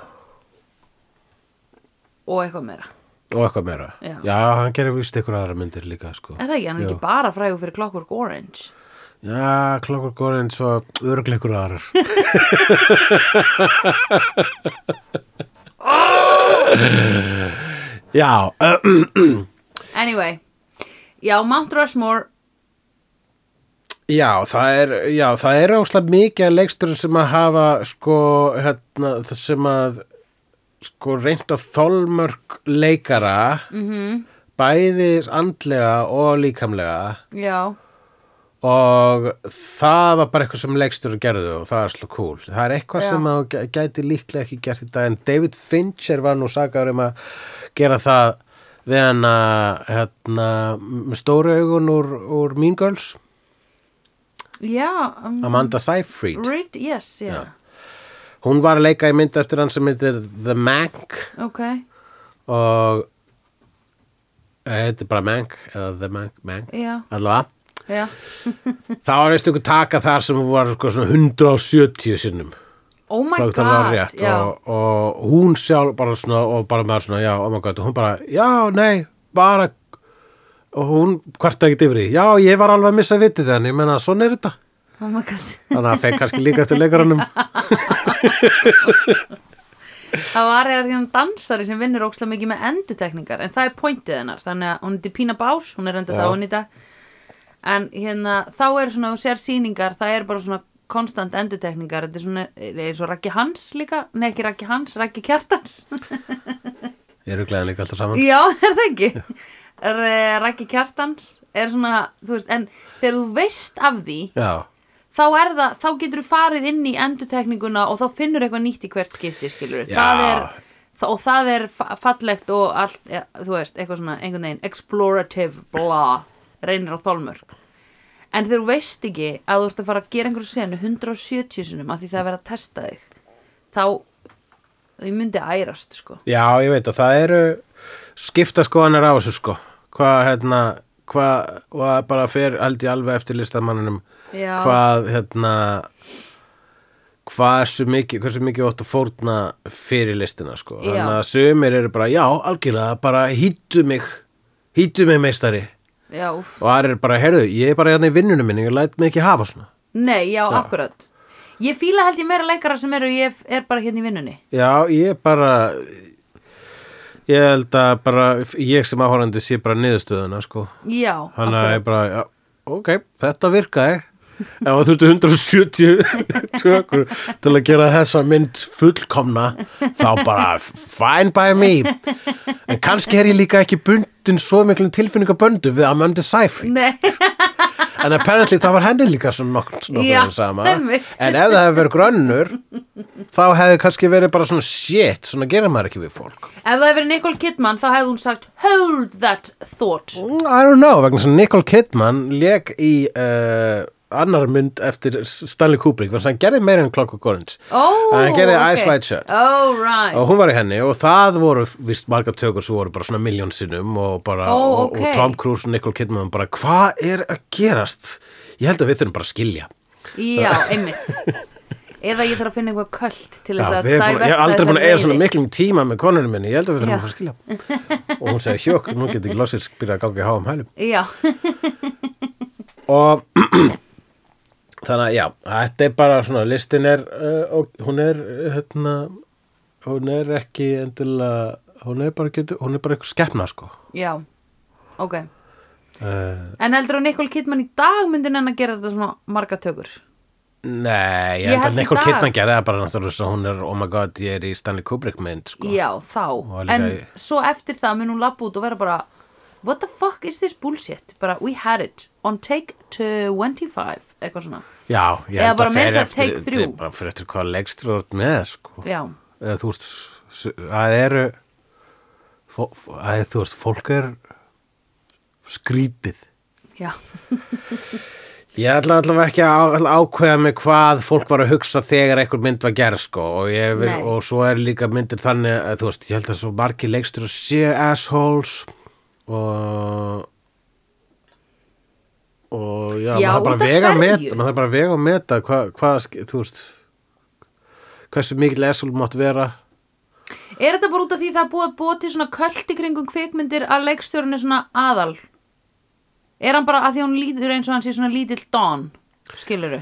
og eitthvað meira
og eitthvað meira
Já.
hann gerir vist ykkur aðra myndir líka sko.
er það ekki, hann er
Jú.
ekki bara frægur fyrir Clockwork Orange
já, klokkur góður eins og örglega ykkur aðrar já uh,
anyway, já, Mount Rushmore
já, það er já, það er óslega mikið að leikstur sem að hafa sko, hérna, það sem að sko reynt að þolmörk leikara
mhm,
bæði andlega og líkamlega
já,
og það var bara eitthvað sem leikstur gerðu og það er slá cool það er eitthvað
Já.
sem að þú gæti líklega ekki gert í dag en David Fincher var nú sakaður um að gera það við hann að hérna, með stóru augun úr, úr Mean Girls
já um,
Amanda Seyfried
Reed, yes, já,
hún var að leika í mynd eftir hann sem heitir The Mank
ok
og eh, heitir bara Mank eða The Mank, Mank
já,
allavega
já,
það var veist ykkur taka þar sem var sko, svona 170 sinnum
oh my
þá
god
það var rétt
já,
og, og hún sjálf bara svona og bara með svona, já, oh my god og hún bara, já, nei, bara og hún kvarta ekkert yfir því já, ég var alveg að missa vitið en ég menna, svona er þetta
oh my god
þannig að það fekk kannski líka eftir leikarunum
það var eða hérna dansari sem vinnur ókslega mikið með endutekningar en það er pointið hennar þannig að hún er Pína Bás, hún er enda
Já.
dáin í dag en hérna þá er svona, þú sér sýningar, það er bara svona konstant endutekningar, þetta er svona eins og Raggi Hans líka, nei ekki Raggi Hans Raggi Kjartans,
ég eru gleðan líka alltaf saman
já er það ekki er, eh, Raggi Kjartans er svona, þú veist, en þegar þú veist af því,
já,
þá er það, þá getur þú farið inn í endutekninguna og þá finnur eitthvað nýtt í hvert skipti, skilur
Já.
það er, þa- og það er fa- fallegt og allt, ja, þú veist, eitthvað svona einhvern veginn, explorative, bla reynir á þolmörk en þegar þú veist ekki að þú ert að fara að gera einhverju senu 170 sinum að því það er að vera að testa þig þá, ég myndi ærast sko,
já, ég veit að það eru skipta skoðanir á þessu sko hvað, hérna, hvað og það bara fer held ég alveg eftir listamanninum
já
hvað hérna hversu mikið, hversu mikið ótt að fórna fyrir listina sko
Já.
þannig að sumir eru bara, já, algjörlega bara hýttu mig, hýttu mig meistari
já, úf.
og það er bara, heyrðu, ég er bara hérna í vinnunum minni ég læt mig ekki hafa svona
Nei, já, akkurat Ég fíla held ég meira leikara sem eru ég er bara hérna í vinnunni
Já, ég bara ég held að bara ég sem áhorandi sé bara niðurstöðuna sko.
Já,
hann að ég
akkurat
bara, já, ok, þetta virkaði ef þú þurftu 170 tökur til að gera þessa mynd fullkomna þá bara fine by me en kannski er ég líka ekki bundin svo miklum tilfinningaböndu við Amanda Seyfried
Nei,
en apparently það var henni líka svona nokk
Já,
nokkuð sama en
einmitt.
ef það hefði verið grönnur þá hefði kannski verið bara svona shit, svona gerir maður ekki við fólk
ef það hefði verið Nicole Kidman þá hefði hún sagt Hold that thought
Mm, I don't know, vegna sem Nicole Kidman leik í uh, annar mynd eftir Stanley Kubrick þannig að hann gerði meira en Clockwork Orange
Oh,
Hann gerði
ok.
Eyes Wide Shut.
Oh, right
og hún var í henni og það voru vist margar tökur sem voru bara svona miljón sinnum og bara
Ó,
og,
ok.
og Tom Cruise og Nicole Kidman bara hvað er að gerast? Ég held að við þurfum bara að skilja
Já, einmitt Eða ég þarf að finna eitthvað köld til
Já,
þess að
við erum búin,
divert
ég hef aldrei
þessa
búin að eiga
reiði.
svona miklum tíma með konunum minni, ég held að við
Já.
þurfum bara að skilja og hún segi hjók, nú getur ekki losið byrjað að ganga í háum hælum
Já,
og þannig að já, þetta er bara svona listin er, uh, og, hún er uh, hérna, hún er ekki endilega hún er bara, getur, hún er bara eitthvað skepna sko
já, ok
uh,
En heldur að Nicole Kidman í dag myndi nenn að gera þetta svona marga tökur
nei,
Ég
ég held
held í
að Nicole
dag-
Kidman gerði það bara náttúrulega svo hún er, oh my god, ég er í Stanley Kubrick mynd sko,
Já, þá
var líka
En
í-
svo eftir það mun hún labba út og vera bara What the fuck is this bullshit? Bara, we had it on take 25 Eitthvað svona
já, ég
Eða
held
bara
að
meira
fer
að
eftir,
take
þetta er
þrjú.
bara fyrir eftir hvað leggst þú ert með sko
Já,
eða þú veist s- að eru fó- fó- að þú veist, fólk er skrítið
já,
Ég ætla allavega ekki að á- ákveða mig hvað fólk var að hugsa þegar einhver mynd var gerð sko og, ég, vil-
Nei.
og svo er líka myndir þannig að þú veist, ég held að svo margir leikstur að sé assholes og og já,
Já,
maður þarf bara
út af
að vega að
hverju?
meta maður þarf bara að vega að meta hvað, hvað sk- þú veist hversu mikill asshole mátt vera
Er þetta bara út af því það er búið að búa til svona költi kringum kvikmyndir að leikstjórun er svona aðal? Er hann bara að því hún líður eins og hann sé svona lítill don? Skilurðu?
uh,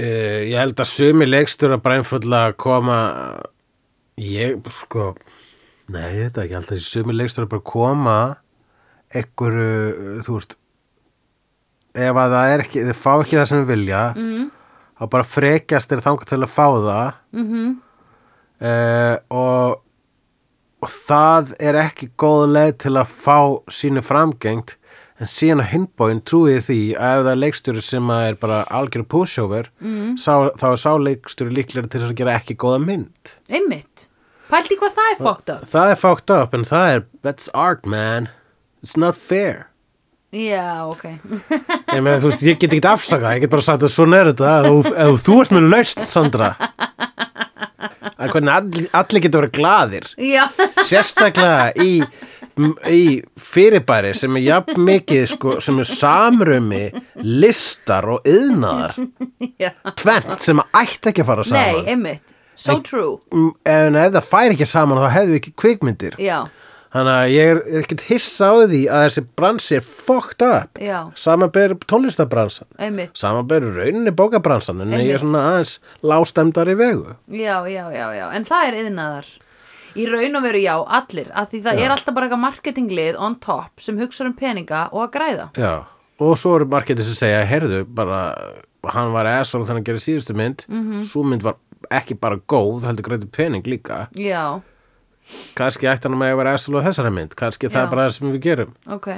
ég held að sumi leikstur að bara einfallega koma ég sko nei, ég veit það ekki, ég held að sumi leikstur að bara koma einhverju, þú veist ef að það er ekki, þau fá ekki það sem þau vilja mm. þá bara frekjast þeir þangað til að fá það mm og og það er ekki góð leið til að fá sínu framgengt en síðan á hinbóin trúið því að ef það er leikstjóri sem að er bara algjör pushover mm. sá, þá er sá leikstjóri líklega til þess að gera ekki góða mynd
Einmitt. Pældi hvað það er fókt af?
það er fucked up en það er that's art man, it's not fair
Já, ok.
ég, meina, þú veist, ég get ekki afsakað, ég get bara sagt að svona er þetta ef, þú- ef þú ert með lausn, Sandra að hvernig allir, allir getur verið glaðir
Já,
sérstaklega í, í fyrirbæri sem er jafn mikið sko, sem er samrömi listar og yðnaðar
já.
tvent sem ætti ekki að fara
Nei,
saman
einmitt. So true.
Mm, en ef það færi ekki saman þá hefðu ekki kvikmyndir
Já,
þannig að ég er ekkert hissa á því að þessi bransi er fucked up
Já.
samanber tónlistabransan
einmitt.
samanber rauninni bókabransan en ég
Einmitt.
er svona aðeins lástemdar í vegu
Já, já, já, já. En það er yðnaðar. Í raun og veru já, allir. Af því það er alltaf bara eitthvað marketinglið on top sem hugsa um peninga og að græða.
Já, og svo eru margætið sem segja, heyrðu, bara hann var asshole þannig að gera síðustu mynd
Mhm.
-hmm. svo mynd var ekki bara góð heldur greiði pening líka
Já,
kannski ætti hann að mega vera asshole á þessari mynd kannski það
Já.
er bara það sem við gerum
ok.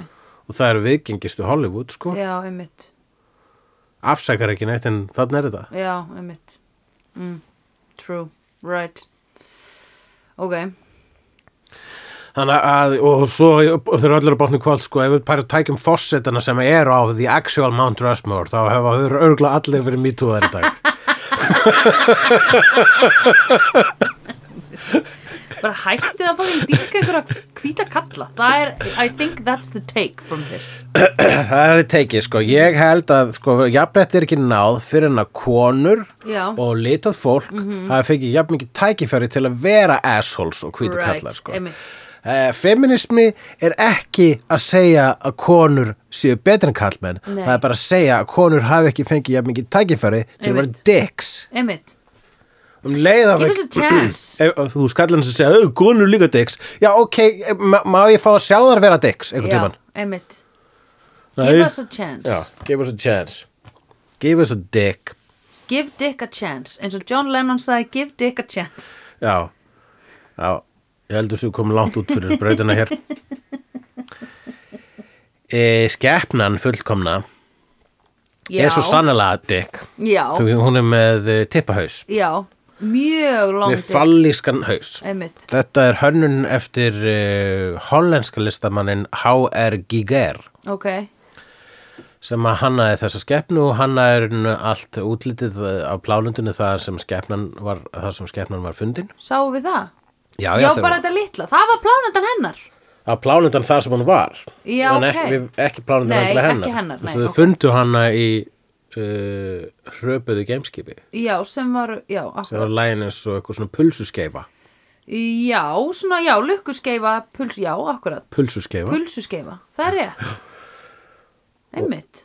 og það eru viðgengistu Hollywood, sko
Já, einmitt.
afsakar ekki neitt en þannig er þetta
Já, einmitt mm. True, right Ok,
þannig að, og svo og þeir eru allir að botna kvöld, sko, ef við bara tækjum fórsetana sem eru á The Actual Mount Rushmore þá hefa þeir örgla allir verið mítúðar í dag
bara hættið að fóðin dýrka einhverja hvíta kalla Það er, I think that's the take from this
Það er tekið, sko. Ég held að, sko, jafnrétti er ekki náð fyrir en að konur
Já.
og
Mhm.
litað fólk mm -hmm. hafi fengið jafn mikið tækifæri til að vera assholes og hvítu
Right,
kallar, sko.
einmitt
eh, feminismi er ekki að segja að konur séu betri en kallmenn
Nei.
það er bara að segja að konur hafi ekki fengið jafn mikið tækifæri til að
Einmitt.
vera dicks
einmitt,
um leið af
Give us a chance.
Ef- ef þú skallar hans að segja, "Ö, konur líka dicks já ok, eh, ma má ég fá að sjá þar vera dicks einhvern
já,
tímann
einmitt
Nei.
give us a chance
Já, give us a chance give us a dick
give dick a chance eins og John Lennon sagði give dick a chance
Já, já ég heldur sem við komum langt út fyrir brautina hér e, Skepnan fullkomna
já,
er svo sannlega dick
já,
Þú, hún er með eh, tippahaus
já, mjög
með
langt
fallískan haus
einmitt,
Þetta er hönnun eftir uh, hollenska listamannin H.R. Giger
ok
sem að hannaði þessa skepnu og hannaði hún allt útlitið eh, á plálundinu þar sem skepnan var, þar sem skepnan var fundin
sáum við það?
Já,
já,
þegar-
bara þetta litla, það var plánandan hennar
að plánundan þar sem hann var
Já,
En
ok.
ekki, við, ekki plánundan
Nei,
endilega hennar,
ekki hennar,
Þú veist,
nei,
þau
ok.
fundu hana í uh, hröpuðu gameskipi
já, sem var, já,
sem
akkurat
var lægin eins og eitthvað svona pulsuskeifa
já, svona, já, lukkuskeifa puls, já, akkurat
pulsuskeifa
pulsuskeifa, það er rétt einmitt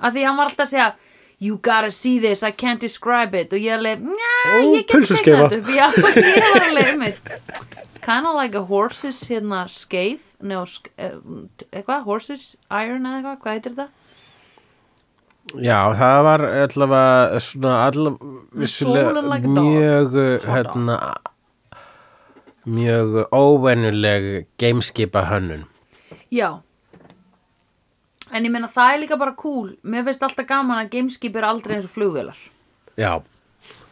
af því hann var alltaf að segja you gotta see this, I can't describe it og ég er alveg, njá,
Ó,
ég get
pulsuskeifa.
teiknað upp já, ég var alveg, einmitt it's kind of like a horse's hérna skeif, no, sk- eh, eitthvað, horse's iron eða eitthvað, hvað heitir það?
Já, það var allavega svona allavega
swollen like a dog.
mjög
dog.
hérna mjög óvenjuleg gameskipa hönnun
Já En ég meina það er líka bara cool Mér finnst alltaf gaman að gameskip er aldrei eins og flugvélar
Já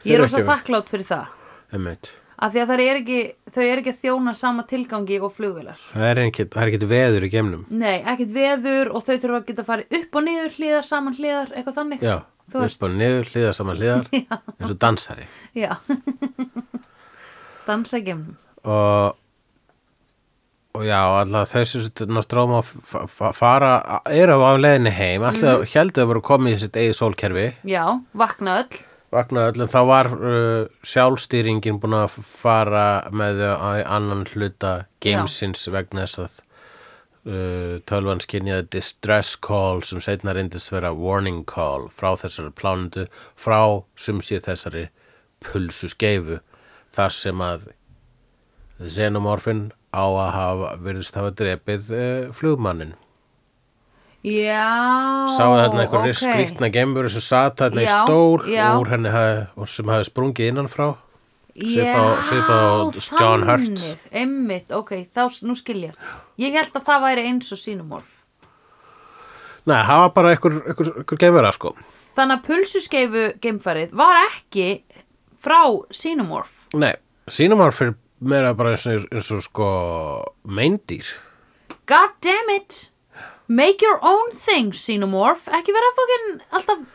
Ég er
Þeir
rosa
ekki-
þakklátt fyrir það
Einmitt.
Af því að þær er ekki, þau er ekki að þjóna sama tilgangi og flugvélar
Það er ekkert það er ekkert veður í geimnum
Nei, ekkert veður og þau þurfa að geta að fara upp og niður hliðar, saman hliðar, eitthvað þannig
Já,
Þú veist,
upp og niður, hliðar saman hliðar eins og dansari
já Dansa um gemnum
og og já, alltaf þessu náttúrulega fara, eru á leiðinni heim alltaf mm. heldur að voru komið í sitt eigið sólkerfi
Já, vakna öll
vagnar öllum, þá var uh, sjálfstýringin búin að fara með þau á annan hluta gamesins vegna þess að uh, tölvan skynjaði distress call sem setna reyndist vera warning call frá þessari plánundu frá sem sé þessari pulsu skeifu þar sem að xenomorfin á að hafa virðist hafa drepið uh, flugmannin
Já,
sáu þarna einhver okay.
ok.
skrýtna geimur sem sat þarna í
Já,
stól
já.
úr henni hafði, og sem hafi sprungið innanfrá
Já,
Svipað- svipað og John Hurt.
þannig, einmitt, ok, þá s- nú skilja ég held að það væri eins og sínumorf
Nei, það var bara einhver, einhver, einhver geimvera sko
þannig að pulsuskeifu geimfarið var ekki frá sínumorf
Nei, sínum var fyrir meira bara eins og, eins og sko meindýr
god damn it make your own thing sínumorf ekki vera fókin alltaf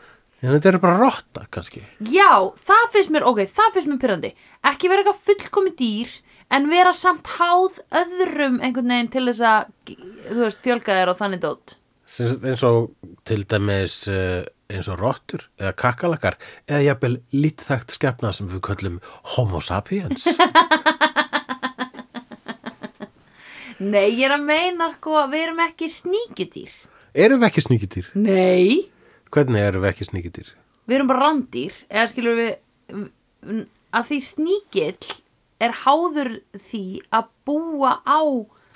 En þetta eru bara rotta kannski
já, það finnst mér, ok, það finnst mér pyrrandi ekki vera eitthvað fullkomi dýr en vera samt háð öðrum einhvern veginn til þess að þú veist, fjölga þér og þannig dót
Sem- eins og til dæmis eh, eins og rottur eða kakalakar eða jafnvel lítþægt skepna sem við köllum homo sapiens
nei, ég er að meina sko, við erum ekki sníkjudýr
Erum við ekki sníkidýr?
Nei
Hvernig erum við ekki sníkidýr?
Við erum bara rándýr eða skilur við að því sníkill er háður því að búa á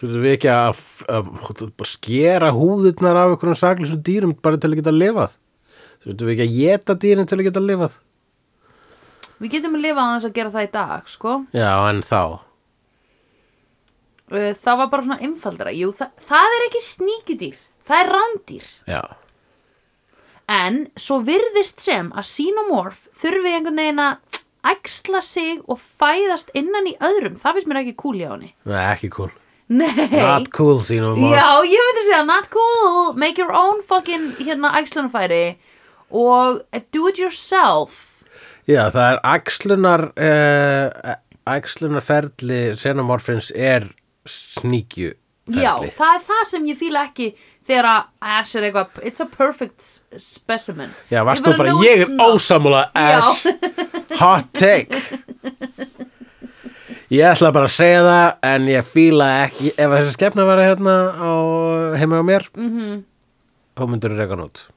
Þurfum við ekki að, að, að skera húðurnar af einhverjum saklisum dýrum bara til að geta lifað? Þurfum við ekki að geta dýrin til að geta lifað?
við getum að lifa á þess að gera það í dag sko.
Já, en þá
Uh, það var bara svona einfaldra Jú, það, það er ekki sníkjudýr það er rándýr
Já,
en svo virðist sem að sínomorf þurfi einhvern veginn að æxla sig og fæðast innan í öðrum það finnst mér ekki cool hjá henni
Nei, ekki cool
Nei.
Not cool þínum orð.
Já, ég myndi segja not cool, make your own fucking hérna æxlunarfæri og do it yourself
Já, það er æxlunar uh, æxlunarferli xenomorfins er sníkju
Já, það er það sem ég fíla ekki þegar að Ash er eitthvað it's a perfect s- specimen
Já, varst
Ég
þú bara,
"No,
ég
it's
er
not."
ósamúla
Já.
ass, hot take Ég ætla bara að segja það en ég fíla ekki ef þessi skepna var hérna á, heima á mér mm -hmm.
Mhm.
þá myndur reka hann út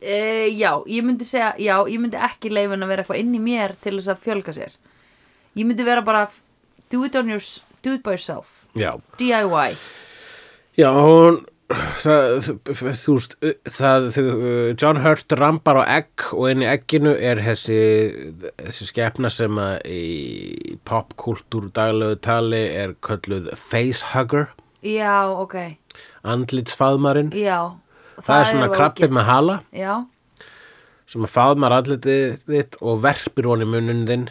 Uh, já, ég myndi segja, já, ég myndi ekki leifin að vera eitthvað inn í mér til þess að fjölga sér. Ég myndi vera bara do it, on your, do it by yourself,
Já,
DIY.
já hún það, þú- þú veist það, þú, John Hurt rambar á egg og inn í egginu er þessi, þessi skepna sem að í popkultúr daglegu tali er kölluð facehugger
Já, ok,
andlitsfaðmarinn
já.
það, er svona krabbið með hala
Já,
sem að faðmar andlitið þitt og verpir hún í munnin þinn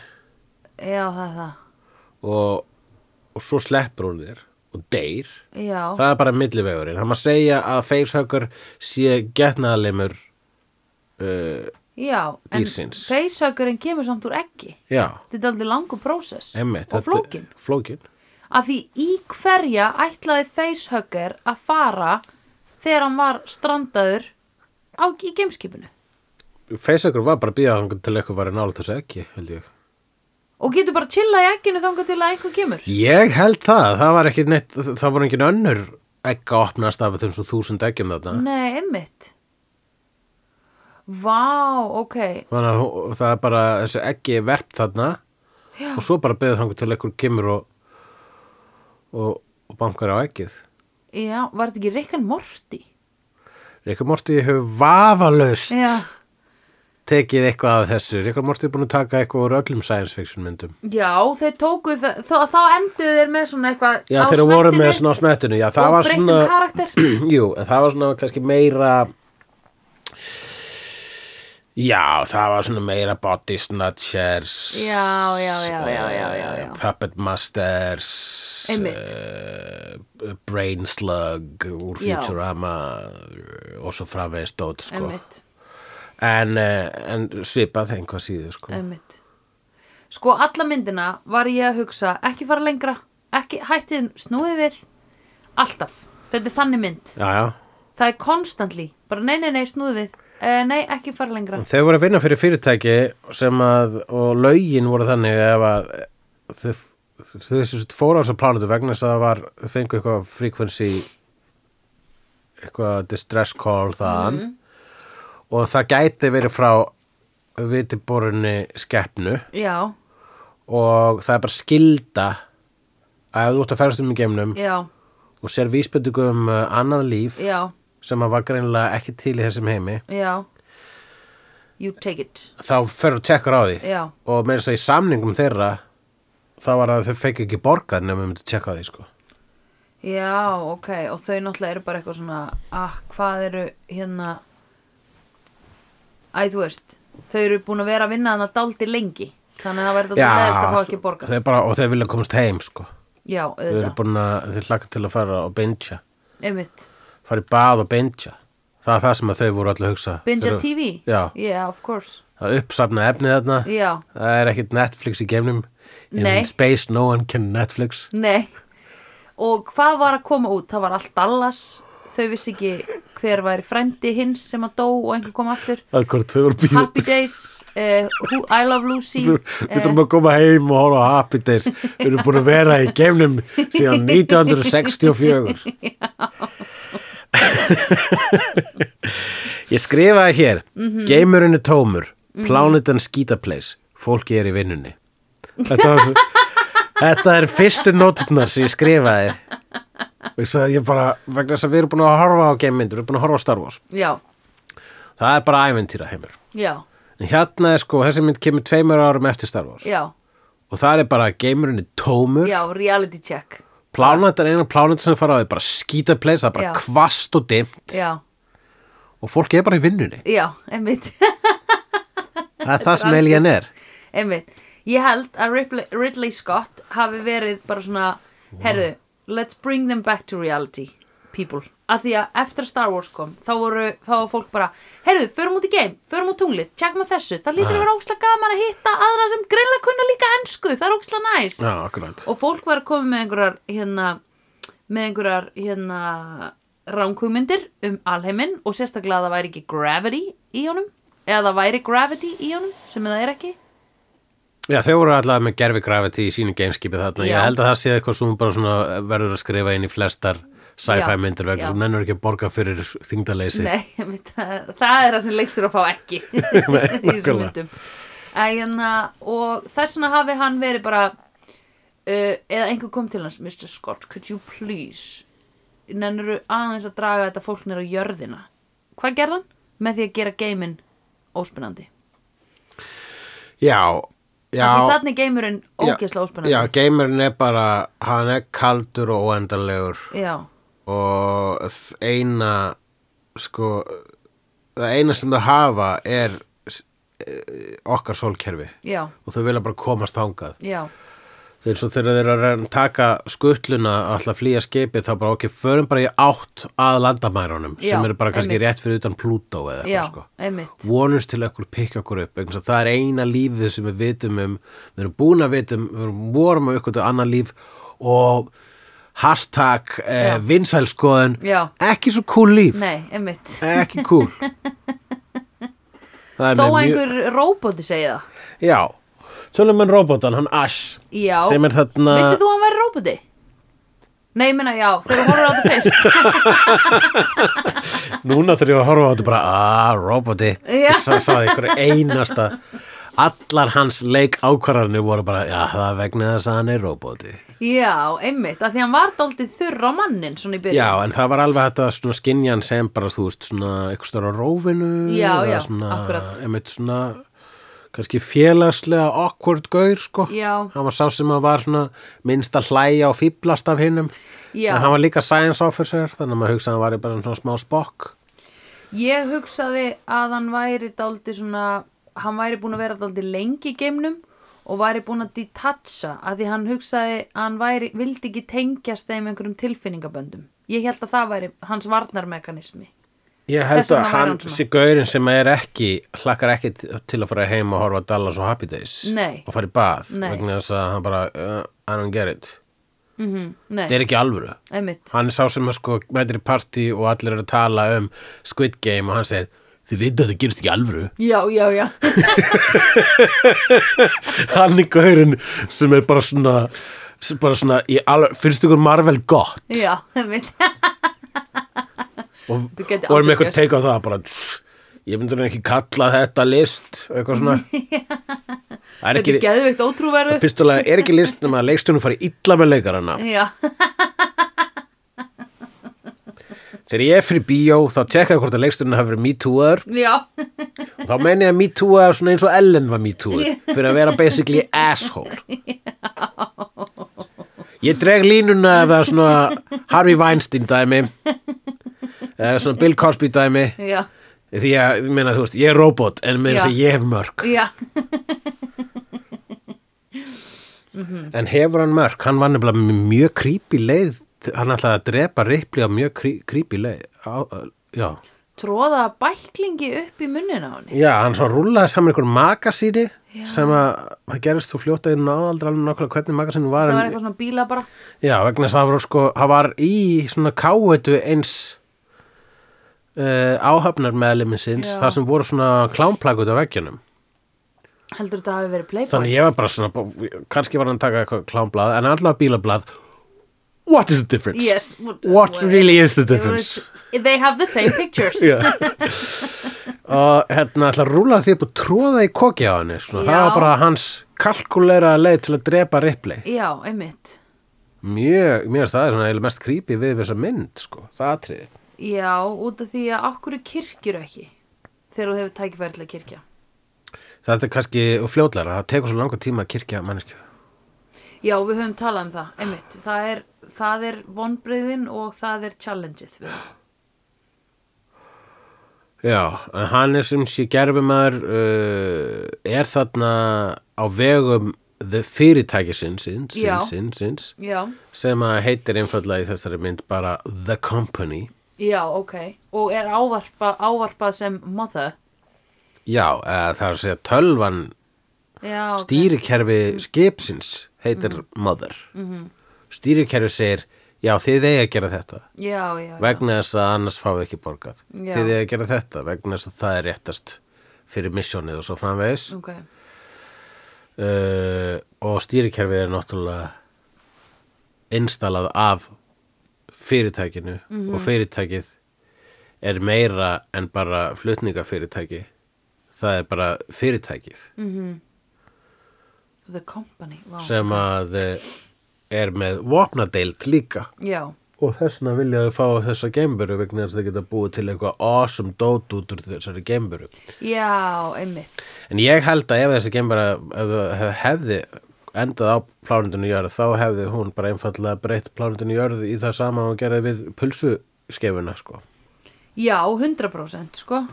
já, það er það.
og, og svo sleppur hún þér og deyr
Já,
það er bara millivegurinn, það maður segja að facehugger sé getnaðalimur uh,
já.
dýrsins.
En facehuggerinn kemur samt úr ekki.
já,
Þetta er aldrei langur prósess.
emmitt
Og flókin.
flókin,
Af því í hverja ætlaði facehugger að fara þegar hann var strandaður á, í gameskipinu?
facehugger var bara að býða hann til eitthvað var í nála þessu ekki, held ég
Og getur bara chillað í egginu þangað til að einhver kemur?
ég held það, það var ekki neitt það voru engin önnur ekki að opnast af þessum þúsund eggjum þarna
Nei, einmitt. Vá, ok.
þannig að hú- það er bara þessi ekki er verpt þarna
Já.
og svo bara beðið þangur til einhver kemur og, og, og bankar á ekkið
Já, var þetta ekki Rikkan Morty?
Ríkar Morty hefur vafalaust
Já.
tekið eitthvað af þessu Ríkar Morty er búin að taka eitthvað úr öllum science fiction myndum
Já, þeir tóku það, þá, þá enduðu þeir með svona eitthvað
Já,
á
þeir voru með
smettinni
svona á smettinu Já, það
og
var
breyttum
svona
karakter.
Jú, en það var svona kannski meira Já, það var svona meira body snatchers
Já, já, já, já, já, já, já.
eh, Puppet masters
Einmitt.
eh, Brain slug úr
Já.
Futurama eh, og svo framvegis dót sko.
Einmitt,
en, eh, en svipað einhvað síður sko.
einmitt. Sko, alla myndina var ég að hugsa, ekki fara lengra, ekki hættið snúið við, alltaf. Þetta er þannig mynd.
Já, já
Það er constantly, bara nei, nei, nei, snúið við, uh, nei, ekki fara lengra.
Þau voru að vinna fyrir fyrirtæki sem að, og lögin voru þannig ef að þau þau þessu fóru á þessu plánutu vegna þess að það var, þau fengu eitthvað frequency eitthvað distress call þaðan
Mhm.
og það gæti verið frá vitiborunni skeppnu
Já,
og það er bara skilda að ef þú ert að ferast um í geimnum
já,
og sér vísbendingu um uh, annað líf
já.
sem að var greinilega ekki til í þessum heimi
Já You take it
þá ferðu og tekur á því
Já,
og með þess að í samningum þeirra þá var að þau fekk ekki borgað nefnum við myndum að tjekka á því sko
já, ok Og þau náttúrulega eru bara eitthvað svona Ah, hvað eru hérna Æ, þú veist Þau eru búin að vera að vinna þannig að dáldi lengi Þannig að það verður þetta leðist að fá ekki borgað
þau bara, og þau vilja komast heim sko
Já,
þau eru
auðvitað,
búin að, þau hlaka til að fara og bingja
einmitt
fara í bað og bingja það er það sem að þau voru allir að hugsa
Binja
Þau-
TV
Já.
yeah, of course
það er uppsafnað efnið þarna
Já,
það er ekkit Netflix í geimnum in
Nei.
space no one can Netflix
nei Og hvað var að koma út? Það var allt Dallas Þau vissi ekki hver væri frændi hins sem að dó og einhver kom aftur
akkur þau voru býð
Happy Days, uh, who, I Love Lucy
Við við þurfum að koma heim og horfa á Happy Days Við erum búin að vera í geimnum síðan 1964 Ég skrifaði hér Geimurinn er tómur Plánetan skítapleis Fólki er í vinnunni Þetta, var, svo- þetta er fyrstu nótnar sem ég skrifaði Og ég sagði ég bara vegna þess að við erum búin að horfa á geimmyndir Við erum búin að horfa á Star Wars
Já,
Það er bara æventýra heimur
já,
Hérna er sko, þessi mynd kemur tveimur árum eftir Star Wars
já,
og það er bara að geimurinn er tómur
já, reality check
plánet er einu plánet sem fara á er bara skítapleis, það er bara
Já.
kvast og dimmt
Já,
og fólk er bara í vinnunni
já, einmitt,
það er það sem Alien er
einmitt Ég held að Ripley, Ridley Scott hafi verið bara svona Herðu, let's bring them back to reality, people Af því að eftir að Star Wars kom, þá voru, þá var fólk bara Herðu, förum út í game, förum út tunglið, tjekkum á þessu Það lítur að vera ókslega gaman að hitta aðra sem grilla kunna líka ensku Það er ókslega næs
Já, akkurat
og fólk var að koma með einhverjar hérna, með einhverjar hérna ránkugmyndir um alheiminn og sérstaklega að það væri ekki gravity í honum eða það væri gravity í honum sem það er ekki
Já, þau voru allavega með gerfi gravity í sínu gameskipi þarna.
Já.
Ég held að það sé eitthvað sem hún bara svona verður að skrifa inn í flestar sci-fi
Já,
myndir
já.
vegna sem nennur ekki að borga fyrir þingdaleysi.
Nei, einmitt, það, það er það sem leikstur að fá ekki í þessum
nákvæmlega.
myndum en, og þess vegna hafi hann verið bara uh, eða einhver kom til hans Mr. Scott, could you please nennuru aðeins að draga þetta fólk nýr á jörðina hvað gerði hann? með því að gera geiminn óspennandi
Já, já.
þannig er geimurinn ógeðslega óspennandi
Já, gamerinn er bara, hann er kaldur og óendanlegur
já,
og þ- eina, sko, það eina sem þau hafa er s- eh, okkar sólkerfi
já,
og þau vilja bara komast þangað.
já,
þeir svo þegar þeir eru að reyna að taka skuttluna og alltaf að flýja skipið þá bara ok, förum bara í átt að landamærunum
Já,
sem eru bara kannski
einmitt.
rétt fyrir utan Plútó eða
já,
eitthvað sko
einmitt
vonust til að ekkur pikka okkur upp vegna þess að það er eina lífið sem við vitum um við erum búin að vitum, við erum vorum að ykkur annan líf og hashtag eh,
Já.
vinsælskoðun
Já.
ekki svo cool líf
nei, einmitt
ekki cool Það er
þó
með
að
mjög-
einhver róbóti segi það
Já, tölum en robotan, hann Ash
Já.
sem er þarna
Vissið þú að hann væri róbóti? Nei, ég meina, já, þegar þú horfir á þetta fyrst
Núna þegar ég var að horfa á þetta bara að, roboti
Já.
Sá- sagði ykkur einasta Allar hans leik ákvarðanir voru bara Já, það er vegna þess að hann er roboti
Já, einmitt, af því hann var daldið þurr á mannin svona í byrjun
Já, en það var alveg hægt að svona skinja hann sem bara, þú veist, svona eitthvað stóra rófinu
Já,
eða
já,
svona,
akkurat.
Einmitt svona, kannski félagslega awkward gaur, sko
Já.
Hann var sá sem að var svona minnst að hlæja og fýblast af hinnum
Já.
En hann var líka science officer, þannig að maður hugsaði að hann var bara svona smá spokk
Ég hugsaði að hann væri daldið svona hann væri búin að vera daldið lengi í geimnum og væri búin að detacha af því hann hugsaði að hann væri, vildi ekki tengjast þeim einhverjum tilfinningaböndum Ég held að það væri hans varnarmekanismi
Ég held
Þess vegna
að
væri
hann,
hann svona.
sé gaurinn sem er ekki, hlakkar ekki t- til að fara heim og horfa á Dallas og Happy Days
Nei.
og fara í bað
Nei.
vegna þess að hann bara, uh, I don't get it.
mm Nei,
Það er ekki alvöru.
einmitt
Hann er sá sem að sko mætir í partí og allir eru að tala um Squid Game og hann segir, þið veit að það gerist ekki í alvöru.
Já, já, já,
hann er gaurinn sem er bara svona, sem bara svona, í alvöru, finnst ykkur Marvel gott
já, einmitt
og,
Þú
og
gæti
er
aldrei
með eitthvað
gerst.
teika á það bara, pff, ég myndi nú ekki kalla þetta list, eitthvað svona. Það er
Þetta
ekki...
er geðveikt ótrúverðu
fyrstulega er ekki listum að leikstjónum fari illa með leikarana
Já,
þegar ég er fyrir bíó þá tjekka ég hvort að leikstjónum hafi verið MeToo-aður
já
og þá meni ég að MeToo-aður svona eins og Ellen var MeToo-aður fyrir að vera basically asshole ég dreg línuna ef það er svona Harvey Weinstein dæmi eða svona Bill Cosby dæmi
Já,
því að, ég meina, þú veist, ég er robot en meina
Já.
þess að ég hef mörg
já, Mm.
en hefur hann mörg, hann var nefnilega með mjög creepy leið hann ætlaði að drepa Ripley á mjög cre- creepy leið á, já
tróða bæklingi upp í munnina á henni.
Já, hann svona rúlaði saman einhver magasíni
Já.
sem að það gerist þú fljótt að ég náði aldrei alveg nákvæmlega hvernig magasínu var,
Það var
en,
eitthvað svona bíla bara.
Já, vegna þess að það var sko það var í svona káetu eins uh, áhafnar meðluminsins
Já.
það sem voru svona klámplakut á veggjunum
Heldur þetta hafi verið playboy?
þannig ég var bara svona, bó- kannski var hann að taka eitthvað klámblað en allavega bílablað What is the difference?
Yes.
What really is the difference?
eh, They have the same pictures.
Já. og hérna ætla að rúla því upp og tróða í koki á henni svona. það
Já.
var bara hans kalkulera leið til að drepa Ripley
Já, einmitt.
mjög, mjög það er svona eiginlega mest creepy við þessa mynd sko, það atriði
Já, út af því að okkur kirkjur ekki þegar þú hefur tækifæri til að kirkja.
þetta er kannski fljótlega, það tekur svo langa tíma að kirkja manneskju
Já, við höfum talað um það, einmitt. Það er, það er vonbreyðin og það er challengeið. við það.
Já, en hann er sem sé gerfumar uh, er þarna á vegum the fyrirtæki sinn, sinn,
Já.
sinn, sinn, sinns,
Já,
sem að heitir einfallega í þessari mynd bara The Company
já, ok. Og er ávarpa, ávarpað sem mother.
Já, eða það er að segja tölvan
Já, ok. Mhm.
stýrikerfi skipsins heitir mother stýrikerfi segir já þið eigi að gera þetta
Já, já, já.
vegna þess að annars fáið ekki borgað
Já.
þið eigi að gera
Mm.
þetta vegna þess að það er réttast fyrir misjónið og svo framvegis
Ok,
uh, og stýrikerfið er náttúrulega installað af fyrirtækinu og fyrirtækið er meira en bara flutningafyrirtæki það er bara fyrirtækið
Mm. Mhm. The Company, vá.
sem að eh, er með vopnadeild líka
Já,
og þess vegna vilja þau fá þessa geimburu vegna þess að þau geta búið til eitthvað awesome dót út úr þessari geimburu
já, einmitt.
en ég held að ef þessi geimbara ef, ef- hefði endað á plánundinu jörð þá hefði hún bara einfallega breytt plánundinu jörð í það sama og hún gerði við pulsuskefuna sko
Já, 100% sko.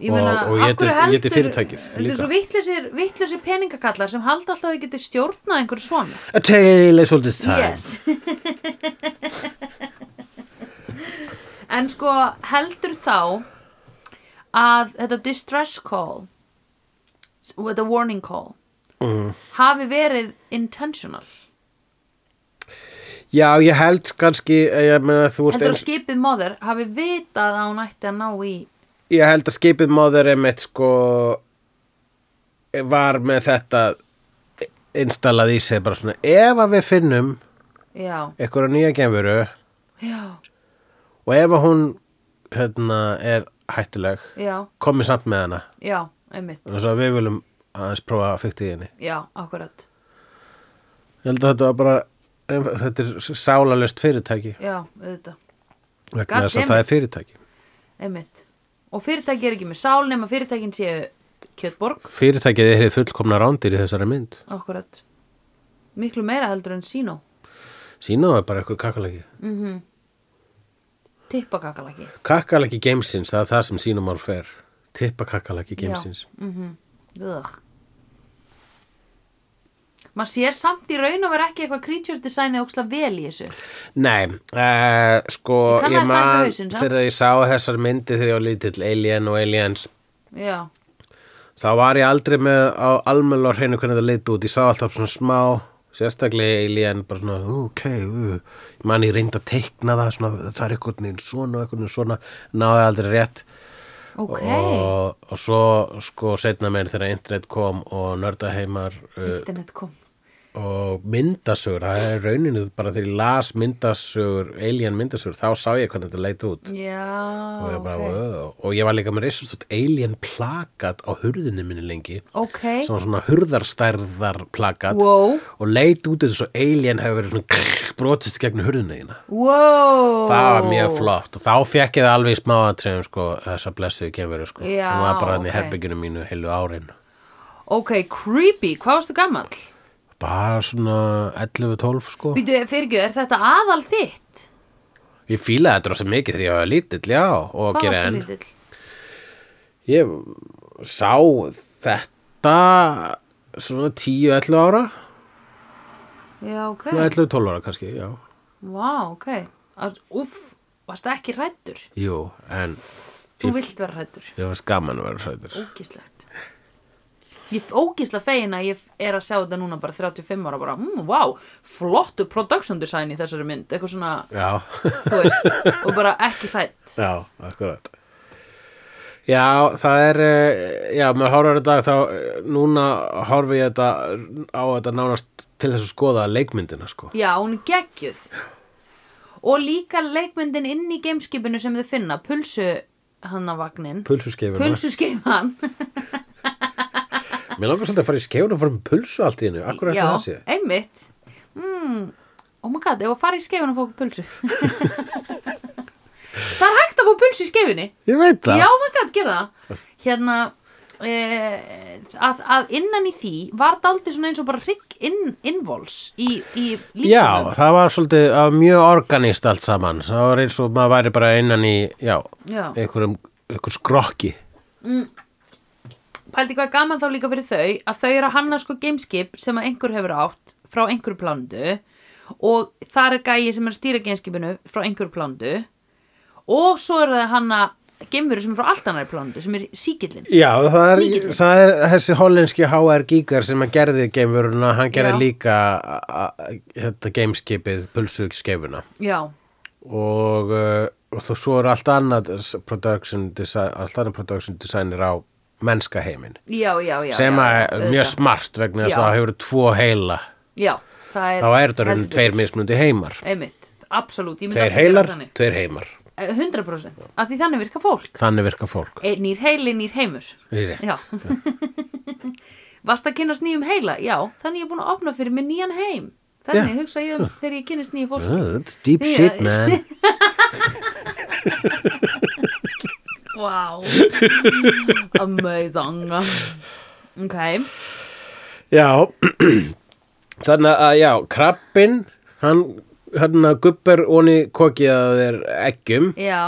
Ég
Og-
meina,
og
af
étur-
hverju heldur-
étur fyrirtækið
Þetta er
líka.
svo vittlisir, vittlisir peningakallar sem halda alltaf að þið geti stjórnað einhverju svona.
A tale is all this time
Yes. en sko, heldur þá að þetta distress call, s- og þetta warning call,
Mhm.
hafi verið intentional?
Já, ég held kannski eh, ég, meina, þú veist,
Heldur að
eins,
skipið móður hafi vitað að hún ætti að ná í
ég held að skipið móður emitt sko var með þetta installað í sig bara svona ef að við finnum
Já,
einhverja nýja geimveru
já,
og ef að hún hérna, er hættuleg
já,
komið samt með hana
já, einmitt
þess að við viljum aðeins prófa að fykta í henni
Já, akkurat,
ég held að þetta var bara em- þetta er sálalist fyrirtæki
já, auðvitað,
vegna
God
þess
damn
að það er fyrirtæki
einmitt Og fyrirtæki er ekki með sál nema fyrirtækin séu kjötborg,
fyrirtækið er hið fullkomna rándir í þessari mynd
akkurat Miklu meira heldur en sínó
sína það bara eitthvað kakalaki
mm -hmm. Tippakakalaki
kakalaki gamesins, það er það sem sínum ár fer tippa kakalaki gamesins
mm -hmm. Ugh Maður sér samt í raun og vera ekki eitthvað creature designið óksla vel í þessu
Nei, uh, sko ég
Ég kannaðist aðeins við
man
hausinn, samt.
þegar ég sá þessar myndi þegar ég var lítill Alien og Aliens
Já,
þá var ég aldrei með á almjölu á hreinu hvernig það leit út, ég sá alltaf svona smá sérstaklega Alien, bara svona ok, uh, ég man ég reyndi að teikna það svona, það er einhvern veginn svona og einhvern veginn svona, náði aldrei rétt
ok
og, og svo sko setna meir þegar internet kom og nördaheimar uh,
Internet kom
og myndasögur, það er rauninu bara þegar ég las myndasögur alien myndasögur, þá sá ég hvernig þetta leit út
Já,
og, ég bara,
Ah, ok
okay. og ég var líka með reisastótt alien plakat á hurðinu minni lengi
Ok,
svona svona hurðarstærðar plakat
wow,
og leit út eins og alien hefur verið svona krr, brotist gegn hurðinu þína
wow
það var mjög flott og þá fekk ég það alveg í smáatriðum sko, þessa blessuðu kemur sko.
Já,
hún var bara hann í
ok.
herbygginu mínu heilu árin
Ok, creepy, hvað varstu gamall?
bara svona 11-12 sko
Býtu, fyrirgjöð, er þetta aðal þitt?
Ég fílaði þetta rosa mikið þegar ég var lítill, já, og
Hvað
gera
varstu
enn.
lítill?
Ég sá þetta svona 10-11 ára,
Já, ok,
svona 11-12 ára kannski, já.
vá, ok Að- Úff, varstu ekki hrættur?
Jú, en
Þú
Ég-
vilt vera hrættur,
ég var skaman að vera hrættur.
ógíslegt Ég ógísla fegin að ég er að sjá þetta núna bara 35 ára bara, mm, wow, flottu production design í þessari mynd, eitthvað svona,
Já,
þú veist, og bara ekki hrætt.
já, akkurat. Já, það er, eh, já, maður horfir þetta þá, eh, núna horfi ég þetta á þetta nánast til þess að skoða leikmyndina, sko.
Já, hún er geggjuð Og líka leikmyndin inn í gameskipinu sem þau finna Pulsu hanna vagnin
Pulsuskeifuna.
Pulsu skeifan
Mér langar svolítið að fara í skeifuna og fara um pulsu allt í hennu, akkurat
Já,
það sé.
einmitt mm, Oh my god, ef að fara í skeifinu og fá okkur pulsu Það er hægt að fá pulsu í skeifinni
Ég veit það.
Já, maður gæti gera það Hérna eh, að, að innan í því var dálítið svona eins og bara hrygg inn, innvols í, í
Já,
líkamann
það var svolítið það var mjög organist allt saman það var eins og maður væri bara innan í já,
Já.
einhverjum einhver skrokki
Pældi hvað er gaman þá líka fyrir þau að þau eru að hanna sko gameskip sem að einhver hefur átt frá einhverju plándu og þar er gæi sem er að stýra gameskipinu frá einhverju plándu og svo eru þau að hanna geimveru sem er frá allt annari plándu sem er síkillin.
Já, það er,
Sníkillinn.
það er þessi hollenski HR Giger sem að gerði geimveruna, hann gerði
Já.
líka a, a, þetta gameskipið pulsugskeifuna
Já,
og, uh, og þó svo er allt annað s- production design, allt annað production designer á mennska heiminn
já, já, já
sem
já,
er
auðvitað.
mjög smart vegna þess
Já.
að það hefur tvo heila
já, það er
þá er þetta raunum
heldur
tveir
betur.
mismunandi heimar
einmitt, absolutt, ég myndi
tveir
alltaf gera
heilar,
þannig.
tveir heimar
Eh, 100% af því þannig virka fólk
þannig virka fólk
Eh, nýr heili, nýr heimur
Það er rétt.
Já. Varst að kynnast nýjum heila? Já, þannig ég er búin að opna fyrir mig nýjan heim. Þannig
Já.
hugsa ég um þegar ég kynnast nýju fólki.
Uh, That's deep
Já,
shit man
Wow. Amazing. Ok.
Já Þannig að já, krabbin hann, hérna, hann að gubber onni kokið að þeir eggjum
Já.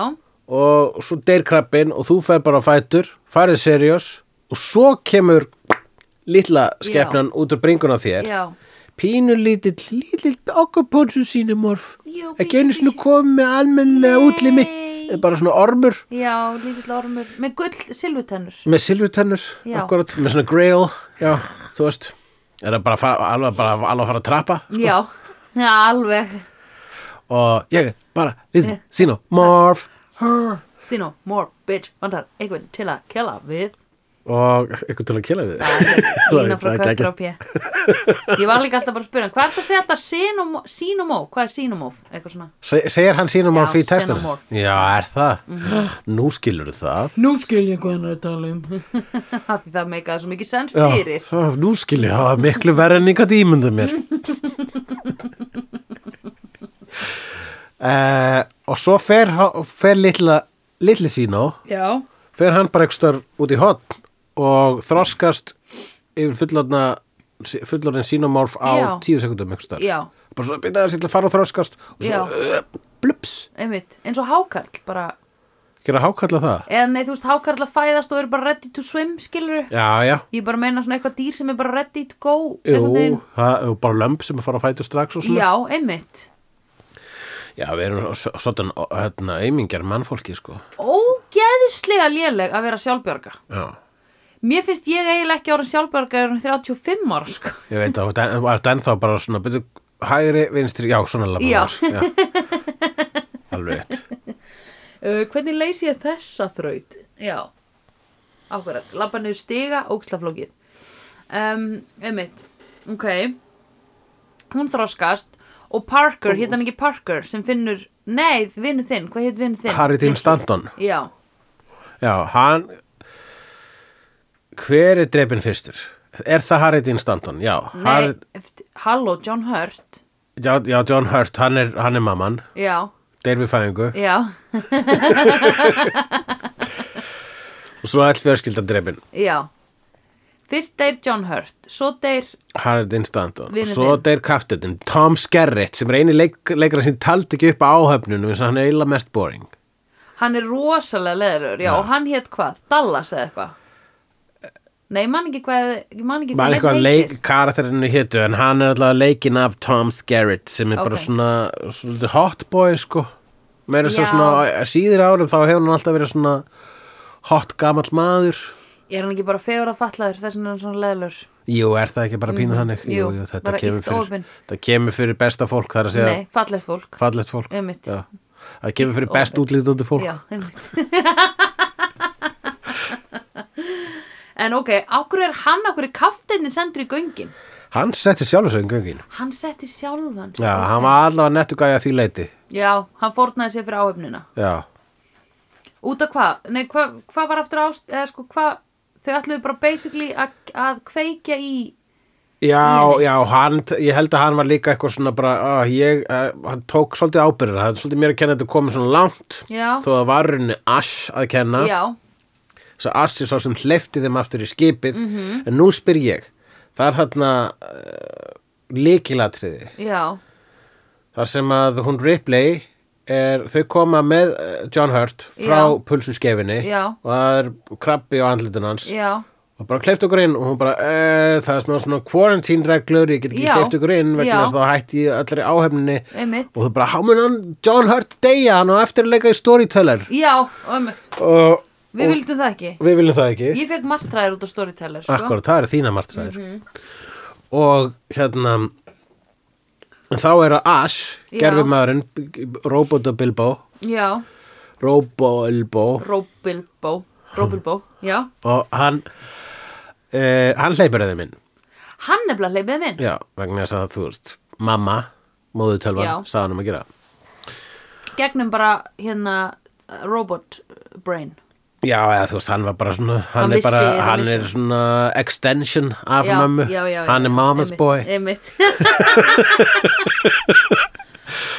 og svo deyr krabbin og þú fer bara á fætur, farið seriós og svo kemur litla skepnan út úr bringuna á þér
Já.
pínu lítill, lítill okkupónsu sínumorf
Jú,
ekki einu
pínu-
sinni komið með almennlega
Nei.
útlimi Eh, bara svona ormur
Já, lítill ormur. Með gull silvutennur.
með silvutennur,
Já.
akkurat, með svona grail já, þú veist er það bara, að fara, alveg, bara alveg að fara að trappa
Já. Já, alveg.
og ég bara, við, sínu, morf
Sino, more, bitch, vandar einhvern til að kjala við.
og eitthvað til að killa við
hérna, Lína frá
Það er geggjað.
köttur á pjö. Ég var líka alltaf bara að spyrja hann, hvað er það að segja alltaf sinumó, sinumó? Hvað er sinumó? Eitthvað svona.
Se- segir hann sínomorf
Já,
í textunum
xenomorph.
já, er það nú skilur það
Nú skil ég hvað hann er að tala um Því það meikaði svo mikið sens
já,
fyrir
það- nú skilur það var miklu verð en ykkar tímundum mér uh, og svo fer, ha- fer litla litli sínó
Já,
fer hann bara eitthvað starf út í hotn og þroskast yfir fullorna fullorinn sínomorf á
Já.
tíu sekundum eitthvað starf
já,
bara svona byrjaði sér til að fara og þroskast og svo uh, blups,
einmitt eins og hákarl bara
gera hákalla það
eða nei, þú veist, hákarl að fæðast og eru bara ready to swim, skilur
já, já,
Ég bara meina svona eitthvað dýr sem er bara ready to go
jú,
einhvern veginn.
það, og bara lömb sem að fara að fæta strax og svona
Já, einmitt
já við erum s- svona hérna, aumingjar mannfólki sko
Ógeðislega léleg að vera sjálfbjörga
já.
Mér finnst ég eiginlega ekki orðin sjálfbjörga er 35 ára, sko
ég veit að það var ennþá bara svona byrju, hægri, vinstri, já, svona labba
Já.
já. alveg rétt
uh, Hvernig leys ég þessa þraut? Já Ákveðar, labba niður stiga, ógslaflókið um, Einmitt Ok Hún þroskast og Parker, hétt hann ekki Parker sem finnur, nei, vinnu þinn hvað hétt vinnu þinn?
Harry Dean Stanton
Já,
já, hann hver er dreipin fyrstur? er það Harry Dean Stanton? já,
nei,
Harry,
eftir, halló, John Hurt
já, já John Hurt, hann er, hann er mamman
Já,
deyr við fæðingu
já,
og svo all fjörskildan drefin
já Fyrst deyr John Hurt, svo deyr
Harald Instanton og
Vinur
svo
þinn.
deyr kaftetin Tom Skerritt sem er eini leik, leikra sem taldi ekki upp á áhöfnunum þess að hann er eila mest boring
hann er rosalega leðurur, já, og hann hétt hvað? Dallas eða eitthvað Nei, ég man ekki hvað ég man ekki
maður
hvað
eitthvað
neinn
leik,
heitir.
karakterinu hétu en hann er alltaf leikin af Tom Skerritt sem er bara
Ok.
svona, svona hot boy sko meira svo
Já.
svona síður árum þá hefur hann alltaf verið svona hot gamall maður
Er hann ekki bara fegur að fallaður þess vegna er hann svona leðlur?
Jú, er það ekki bara pínu þannig?
Mm, jú,
þetta
bara
kemur
illt
fyrir,
opin.
það kemur fyrir besta fólk, það er að segja
Nei, fallegt fólk.
fallegt fólk.
Einmitt.
Já. Það kemur fyrir
Illt
best útlítandi fólk.
Já, einmitt. en ok, okkur er hann, okkur er kaftinni sendur í göngin?
Hann setti sjálfur sig um göngin.
Hann setti sjálfan. sig,
Já,
ok.
hann var allavega nettu gæja að því leiti.
Já, hann fórnaði sér fyrir áhefnina.
Já.
Út af hvað? Nei, hvað hva var aftur ást? Eða sko, hvað? Þau ætluðu bara basically a, að kveikja í...
Já,
Í henni.
já, hann, ég held að hann var líka eitthvað svona bara, uh, ég, uh, hann tók svolítið ábyrður, það er svolítið mér að kenna að þetta komið svona langt,
Já.
þó að varunni Ash að kenna,
Já,
þess að Ash er svo sem hleyfti þeim aftur í skipið, -hmm.
Mhm.
en nú spyr ég, það er þarna uh, líkilatriði,
já,
þar sem að hún Ripley er, þau koma með eh, John Hurt frá
Já.
pulsuskefinni
Já.
og það er krabbi á andlutun hans
já,
og bara kleift okkur inn og hún bara, eh, það er smá svona quarantine reglur, ég get ekki
Já.
kleift okkur inn vegna
Já.
þess að þá hætti ég allri áhefninni
einmitt.
og þú bara, how mun hann John Hurt deyja hann og eftirleika í storyteller
Já, einmitt.
og
Við vildum það ekki.
við viljum það ekki
Ég fekk martræðir út á Storyteller, sko. Mhm.
Akkurat, það eru þína martræðir og hérna en þá er að Ash
Já.
gerfi maðurinn, Robot og Bilbo
Já,
Robo Elbo
Róbilbó. Róbulbó, já
og hann uh, hann hleypur þeim inn
Hann er blað hleypið minn
já, vegna þess að þú veist mamma, móðu
Já.
tölvan, sagði hann um að gera
Gegnum bara hérna uh, robot brain
já, eða þú veist, hann var bara svona hann,
Hann
er, bara,
vissi- hann
hann er
vissi.
svona extension af
já,
mömmu
já, já,
hann
já,
er mama's
einmitt,
boy
einmitt.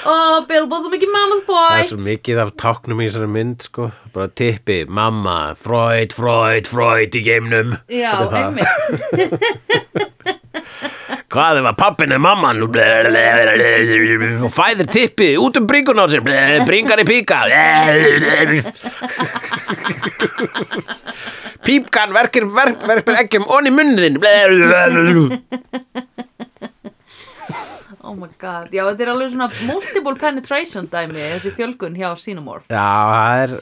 Ó, Bilbo svo mikið mama's
það
boy
er svo mikið af táknum í þessari mynd sko. bara tippi, mamma, Freud Freud, Freud í geimnum
Já,
Þetta er það.
einmitt
hvað ef að pappin er mamman og fæðir tippi út um bringun á sér bringar í píka pípkan verkir verk, verkir eggjum onni munniðin
Oh my god, já þetta er alveg svona multiple penetration dæmi þessi fjölgun hjá Cinemorph
já, það er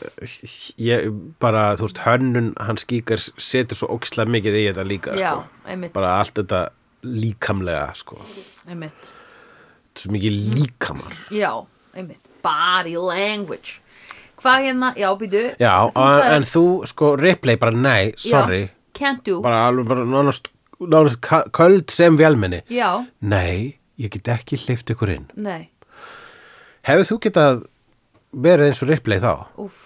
ég, bara, þú veist, hönnun hans gíkar setur svo ókslega mikið í þetta líka
Já,
sko.
einmitt.
bara allt þetta líkamlega sko.
einmitt,
Þetta er svo mikið
Mm.
líkamar
já, einmitt body language Hvað hérna, já býtu
já,
Þú
en,
sagðir-
en þú, sko, replay bara nei, sorry
já, Can't do,
bara alveg bara nánast, nánast ka- köld sem velmenni
já,
nei, ég get ekki hleyft ykkur inn
nei
hefur þú getað verið eins og Ripley þá?
Úf,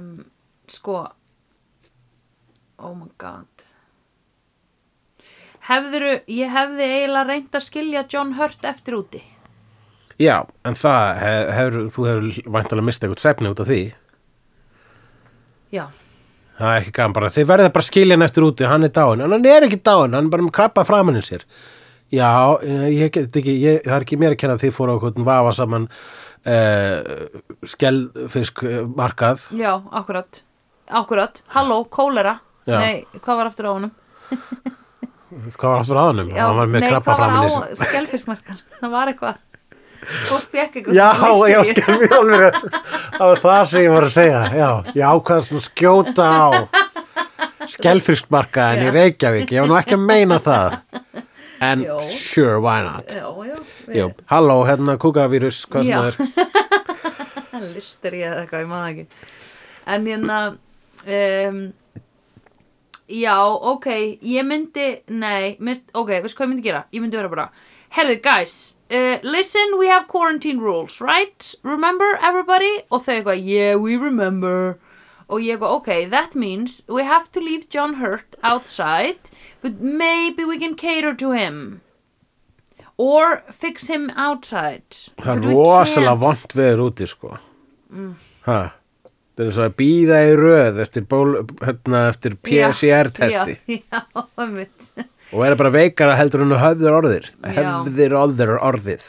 um, sko Oh my god Hefðuru, ég hefði eiginlega reynd að skilja John Hurt eftir úti
já, en það hef, hefur, þú hefur væntalega mistað eitthvað sefni út af því
Já,
það er ekki gaman bara, þið verða bara skiljan eftir úti hann er dáin, en hann er ekki dáin, hann er bara með krabba framan í sér já, eh, ég get ekki, ég, það er ekki mér að kenna að þið fóru á hvernig vafa saman uh, skellfisk eh, markað
já, akkurat Akkurat, halló, kólera
Já.
Nei, hvað var aftur á honum?
hvað var aftur á honum,
Já,
hann var með
nei,
krabba
hvað
framan í sér
var á skelfismarkan? Það var eitthvað Fólk fekk eitthvað
Já,
sem leysti
já,
því.
skemmið alveg rétt. Það var það sem ég var að segja. Já, ég ákvaða svona að skjóta á skelfiskmarka en í
Já.
Reykjavík. Ég var nú ekki að meina það. En
Jó. Eh,
sure, why not?
Já, já, við-
Jú, halló, hérna kúkavírus, hvað
Já.
sem það er.
listir ég eða eitthvað, ég maður ekki en hérna um, já, ok ég myndi, nei mynd, ok, veistu hvað ég myndi gera? Ég myndi vera bara herðu, guys, uh, listen we have quarantine rules, right? remember everybody? og þau eitthvað, yeah, we remember og ég eitthvað, ok, that means we have to leave John Hurt outside but maybe we can cater to him or fix him outside
Það
But
er
we
rosalega
can't-
vond veður úti, sko.
Mm.
Ha, það er svo að býða í röð eftir, ból, hérna, eftir PCR-testi
já, já, einmitt
og er bara veikara heldur en höfður orðir.
Já.
Höfður orður orðið.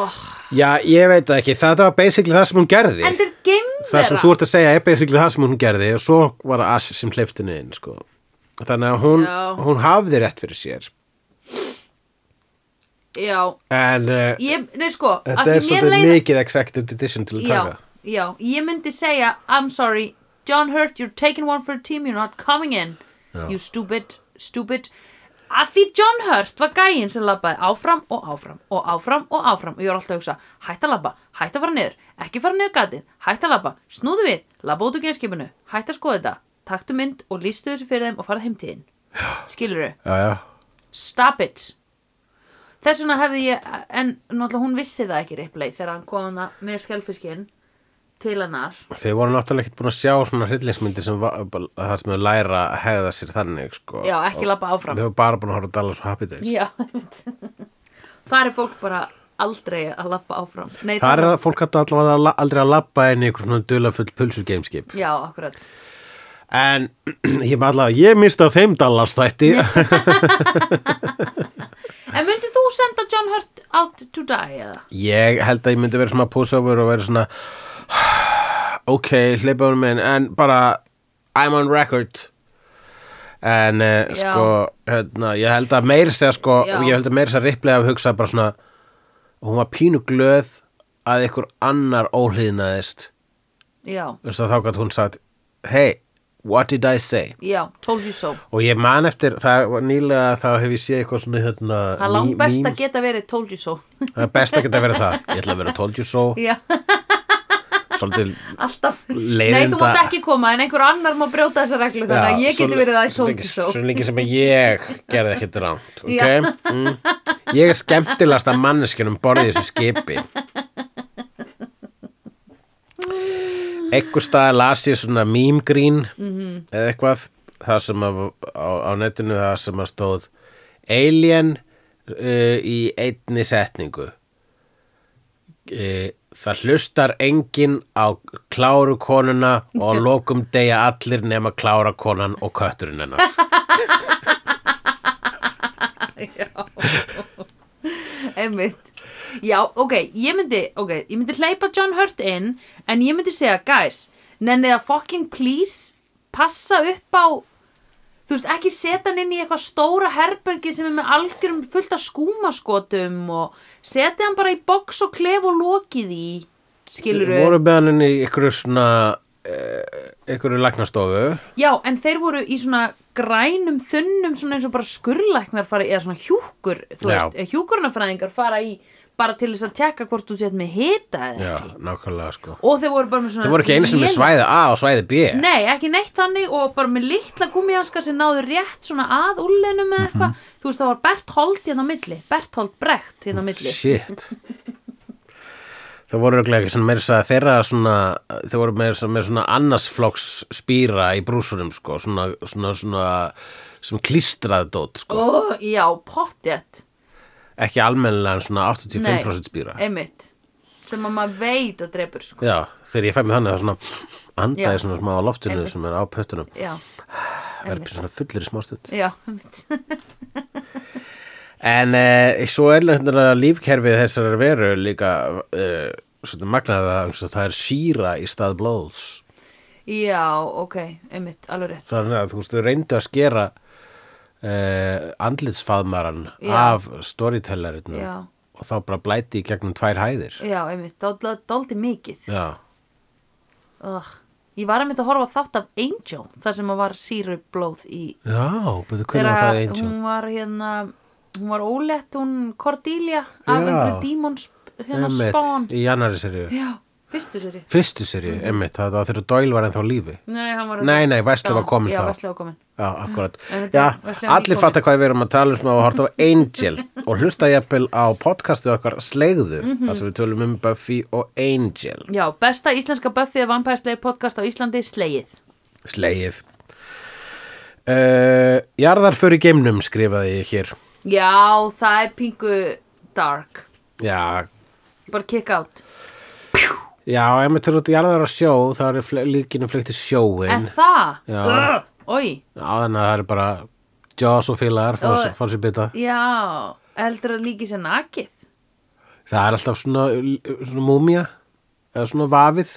oh.
Já, ég veit það ekki, þetta var basically það sem hún gerði
en þeir
Það sem þú
geimvera
ert að segja er basically það sem hún gerði og svo var það Ash sem hleyftinu inn sko. Þannig að hún,
Já.
hún hafði rétt fyrir sér
já,
En uh,
ég, nei sko af
þetta er
því mér
svolítið
leið-
mikið executive decision til að
já,
taka
já, ég myndi segja I'm sorry, John Hurt, you're taking one for a team you're not coming in
Já.
you stupid, stupid að því John Hurt var gæinn sem labbaði áfram og áfram og áfram og áfram og ég var alltaf að hugsa, hætt að labba, hætt að fara niður ekki fara niður gatið, hætt að labba snúðu við, labba út úr genskipinu hætt að skoða þetta, taktu mynd og lístu þessu fyrir þeim og farað heimtíðin skilurðu,
Já, já,
Stop it Þess vegna hefði ég En náttúrulega hún vissi það ekki Ripley Þegar hann kom hana með skelfiskinn Til hennar
þau voru náttúrulega ekkert búin að sjá svona hryllingsmyndir sem var, bara- það sem þau læra að hegða sér þannig sko.
Já, ekki
Og
labba áfram
Þau voru bara búin að horfa að dala svo happy days
Já, einmitt. Þar er fólk bara aldrei að lappa áfram Nei,
Þar er
það-
að fólk hætti allavega að la- aldrei að labba inn í einhver svona dulafull pulsur gameskip
Já, akkurat
En ég maður allavega, ég misti af þeim Dallas þætti
En myndir þú senda John Hurt out to die eða?
Ég held að ég myndi vera svona pussover og vera svona ok, hleypa honum inn en bara, I'm on record en uh,
Já.
sko, hérna, ég held að meir segja sko,
Já.
ég held að meir segja ripplega að hugsa bara svona, hún var pínu glöð að einhver annar óhlýðnaðist,
Já,
þess að þá gætt hún sagt hey, what did I say?
já, told you so
Og ég man eftir, það var nýlega þá hef ég séð eitthvað svona hérna,
Það er langt best
mím-
að geta verið told you so
það er best að geta verið það, ég ætla að vera told you so
Já,
svolítið
alltaf, nei þú
Leiðinda-
mátt ekki koma en einhver annar má brjóta þessa reglu þannig að
Já,
ég
svo
geti verið það í
svo
sól
lengi-
til sól
Svo lengi sem ég gerði ekkert rámt
Já.
okay? mm. Ég er skemmtilegasta manneskjunum borðið í þessu skipi Ekkur staðar las ég svona mýmgrín -hmm. eða eitthvað það sem að, á, á netinu það sem að stóð Alien uh, í einni setningu Eh, það hlustar enginn á kláru konuna og að lokum deyja allir nema klára konan og kötturinn hennar
einmitt já, ok, ég myndi, ok, ég myndi hleypa John Hurt inn en ég myndi segja, guys, nennið að fucking please passa upp á þú veist, ekki setja hann inn í eitthvað stóra herbergi sem er með algjörum fullt af skúmaskotum og setja hann bara í box og klef og lokið í skilur við
voru með hann inn í ykkur svona eh, ykkur lagnastofu
Já, en þeir voru í svona grænum, þunnum, svona eins og bara skurlæknar fara í, eða svona hjúkur, þú
Já.
veist, eða hjúkurnafræðingar fara í bara til þess að tekka hvort þú sett með hita eða
já,
ekki.
nákvæmlega sko
Og þeir voru bara með svona...
það voru ekki einu sem með
léleg-
svæði A og svæði B
Ah, Nei, ekki neitt þannig og bara með litla gummihanska sem náðu rétt svona að úllenum eða
Mhm.
eitthvað. Þú veist, það var Berthold hérna á milli, Berthold Brecht hérna á milli.
shit það voru örugglega ekki svona meira þess að þeirra svona þeir voru meira svona, meira svona annarsflokks spýra í brúsunum sko svona, svona, svona sem klístraðdót sko
Ó, já, pottjett,
ekki almennilega en svona 85%
Nei. Eh.
spýra
einmitt, sem að maður veit að drepur, sko.
já, þegar ég fæ mig þannig að svona anda
Já.
í svona smá á loftinu
Einmitt.
sem er á pötunum
Já,
er svona fullir í smá stund
já, einmitt.
en uh, svo er náttúrulega lífkerfið þessar veru líka uh, svona magnaða það, það er síra í stað blóðs
Já, ok, einmitt, alveg rétt.
þannig að þú veist, þau reyndu að skera uh, andlitsfaðmaran
Já.
af storytellerinu
Já.
og þá bara blæti í gegnum tvær hæðir
Já, einmitt, dálítið dálítið mikið.
já,
Ugh. Ég var einmitt að horfa á þátt af Angel, þar sem að var síru blóð í...
já, betur hvernig var það eins
Hún var hérna, hún var ólett, hún Cordelia af
Já.
einhverju dímons hérna spán.
í annari serið
Já, fyrstu sér ég.
Fyrstu serið,
Mhm.
mm. emmitt, það var þegar Doyle var ennþá á lífi.
Nei, hann var...
Nei, nei, Wesley var kominn þá.
já, Já, Vesli var komin.
Já, akkurat.
En þetta-
Já,
Wesley var
allir
nýkominn.
fattar hvað við erum að tala um sem að horta á Angel og hlusta jafnvel á podcastið okkar Slegðu, þar sem við tölum um Buffy og Angel.
Já, besta íslenska Buffy eða Vampire Slayer podcast á Íslandi, Slegið.
Slegið. Uh, Jarðarför í geimnum skrifaði ég hér.
Já, það er pingu dark.
Já,
Bara kick out.
já, ef maður tölur út jarðar á sjó, þá er fl líkinu flugt í
Er
sjóin.
það?
Já.
Ói.
Já, þannig að það er bara Jaws og félagar, fá sér- fá sér bita.
Já, heldur að líki sér nakið
Það er alltaf svona, svona múmía, eða svona vafið.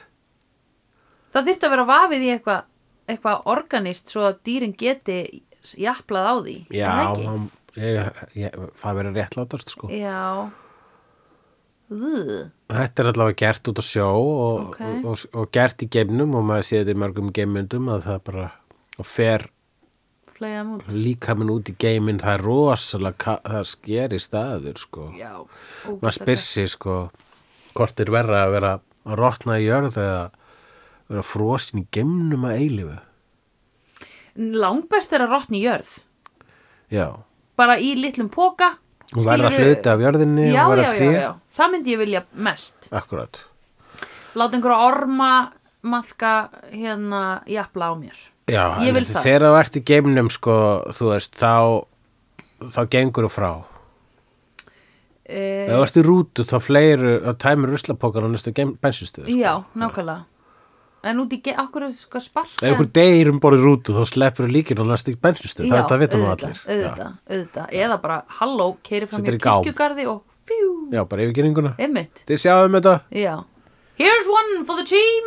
Það þyrfti að vera vafið í eitthvað eitthva organist svo að dýrin geti japlað á því er
Já,
það ekki?
hann, ég, ég, það verið réttlátast sko.
Já Úh,
Þetta er allavega gert út á sjó og,
Ok.
og, og, og gert í geimnum og maður sé þetta í mörgum geimmyndum að það bara og fer
flæðum út
líkaminn út í geiminn það er rosalega, ka- það skeri staður sko.
Já,
Maður
ógeðslega.
spyr sig sko hvort er verra að vera að rotna í jörð eða vera frosin í geimnum að eilífu.
Langbest er að rotni jörð
Já.
bara í litlum póka
Og verða
skilurðu-
hluti af jörðinni
Já,
og
já,
verða
já,
tré.
já, það myndi ég vilja mest
Akkurat.
Láta einhverja orma maðka hérna japla á mér
Já,
Ég
en
vil
þe-
það.
þegar þú ert í geimnum sko, þú veist, þá þá gengur þú frá
uh,
ef þú ert í rútu þá fleiru þá tæmur ruslapokar á næstu bensinstöð sko.
Já, nákvæmlega En út í, ge- okkur er sko sparka
ef ykkur deyr um borðið rútu þá sleppur þú líkin á næstu bensinstöð,
Já,
það, það veitum við
auðvitað,
allir Já.
auðvitað, auðvitað, eða bara halló, keiri fram
Setur
hjá
í gám.
kirkjugarði og fjú,
Já, bara yfirgeringuna
einmitt
Þið sjáum þetta,
Já, here's one for the team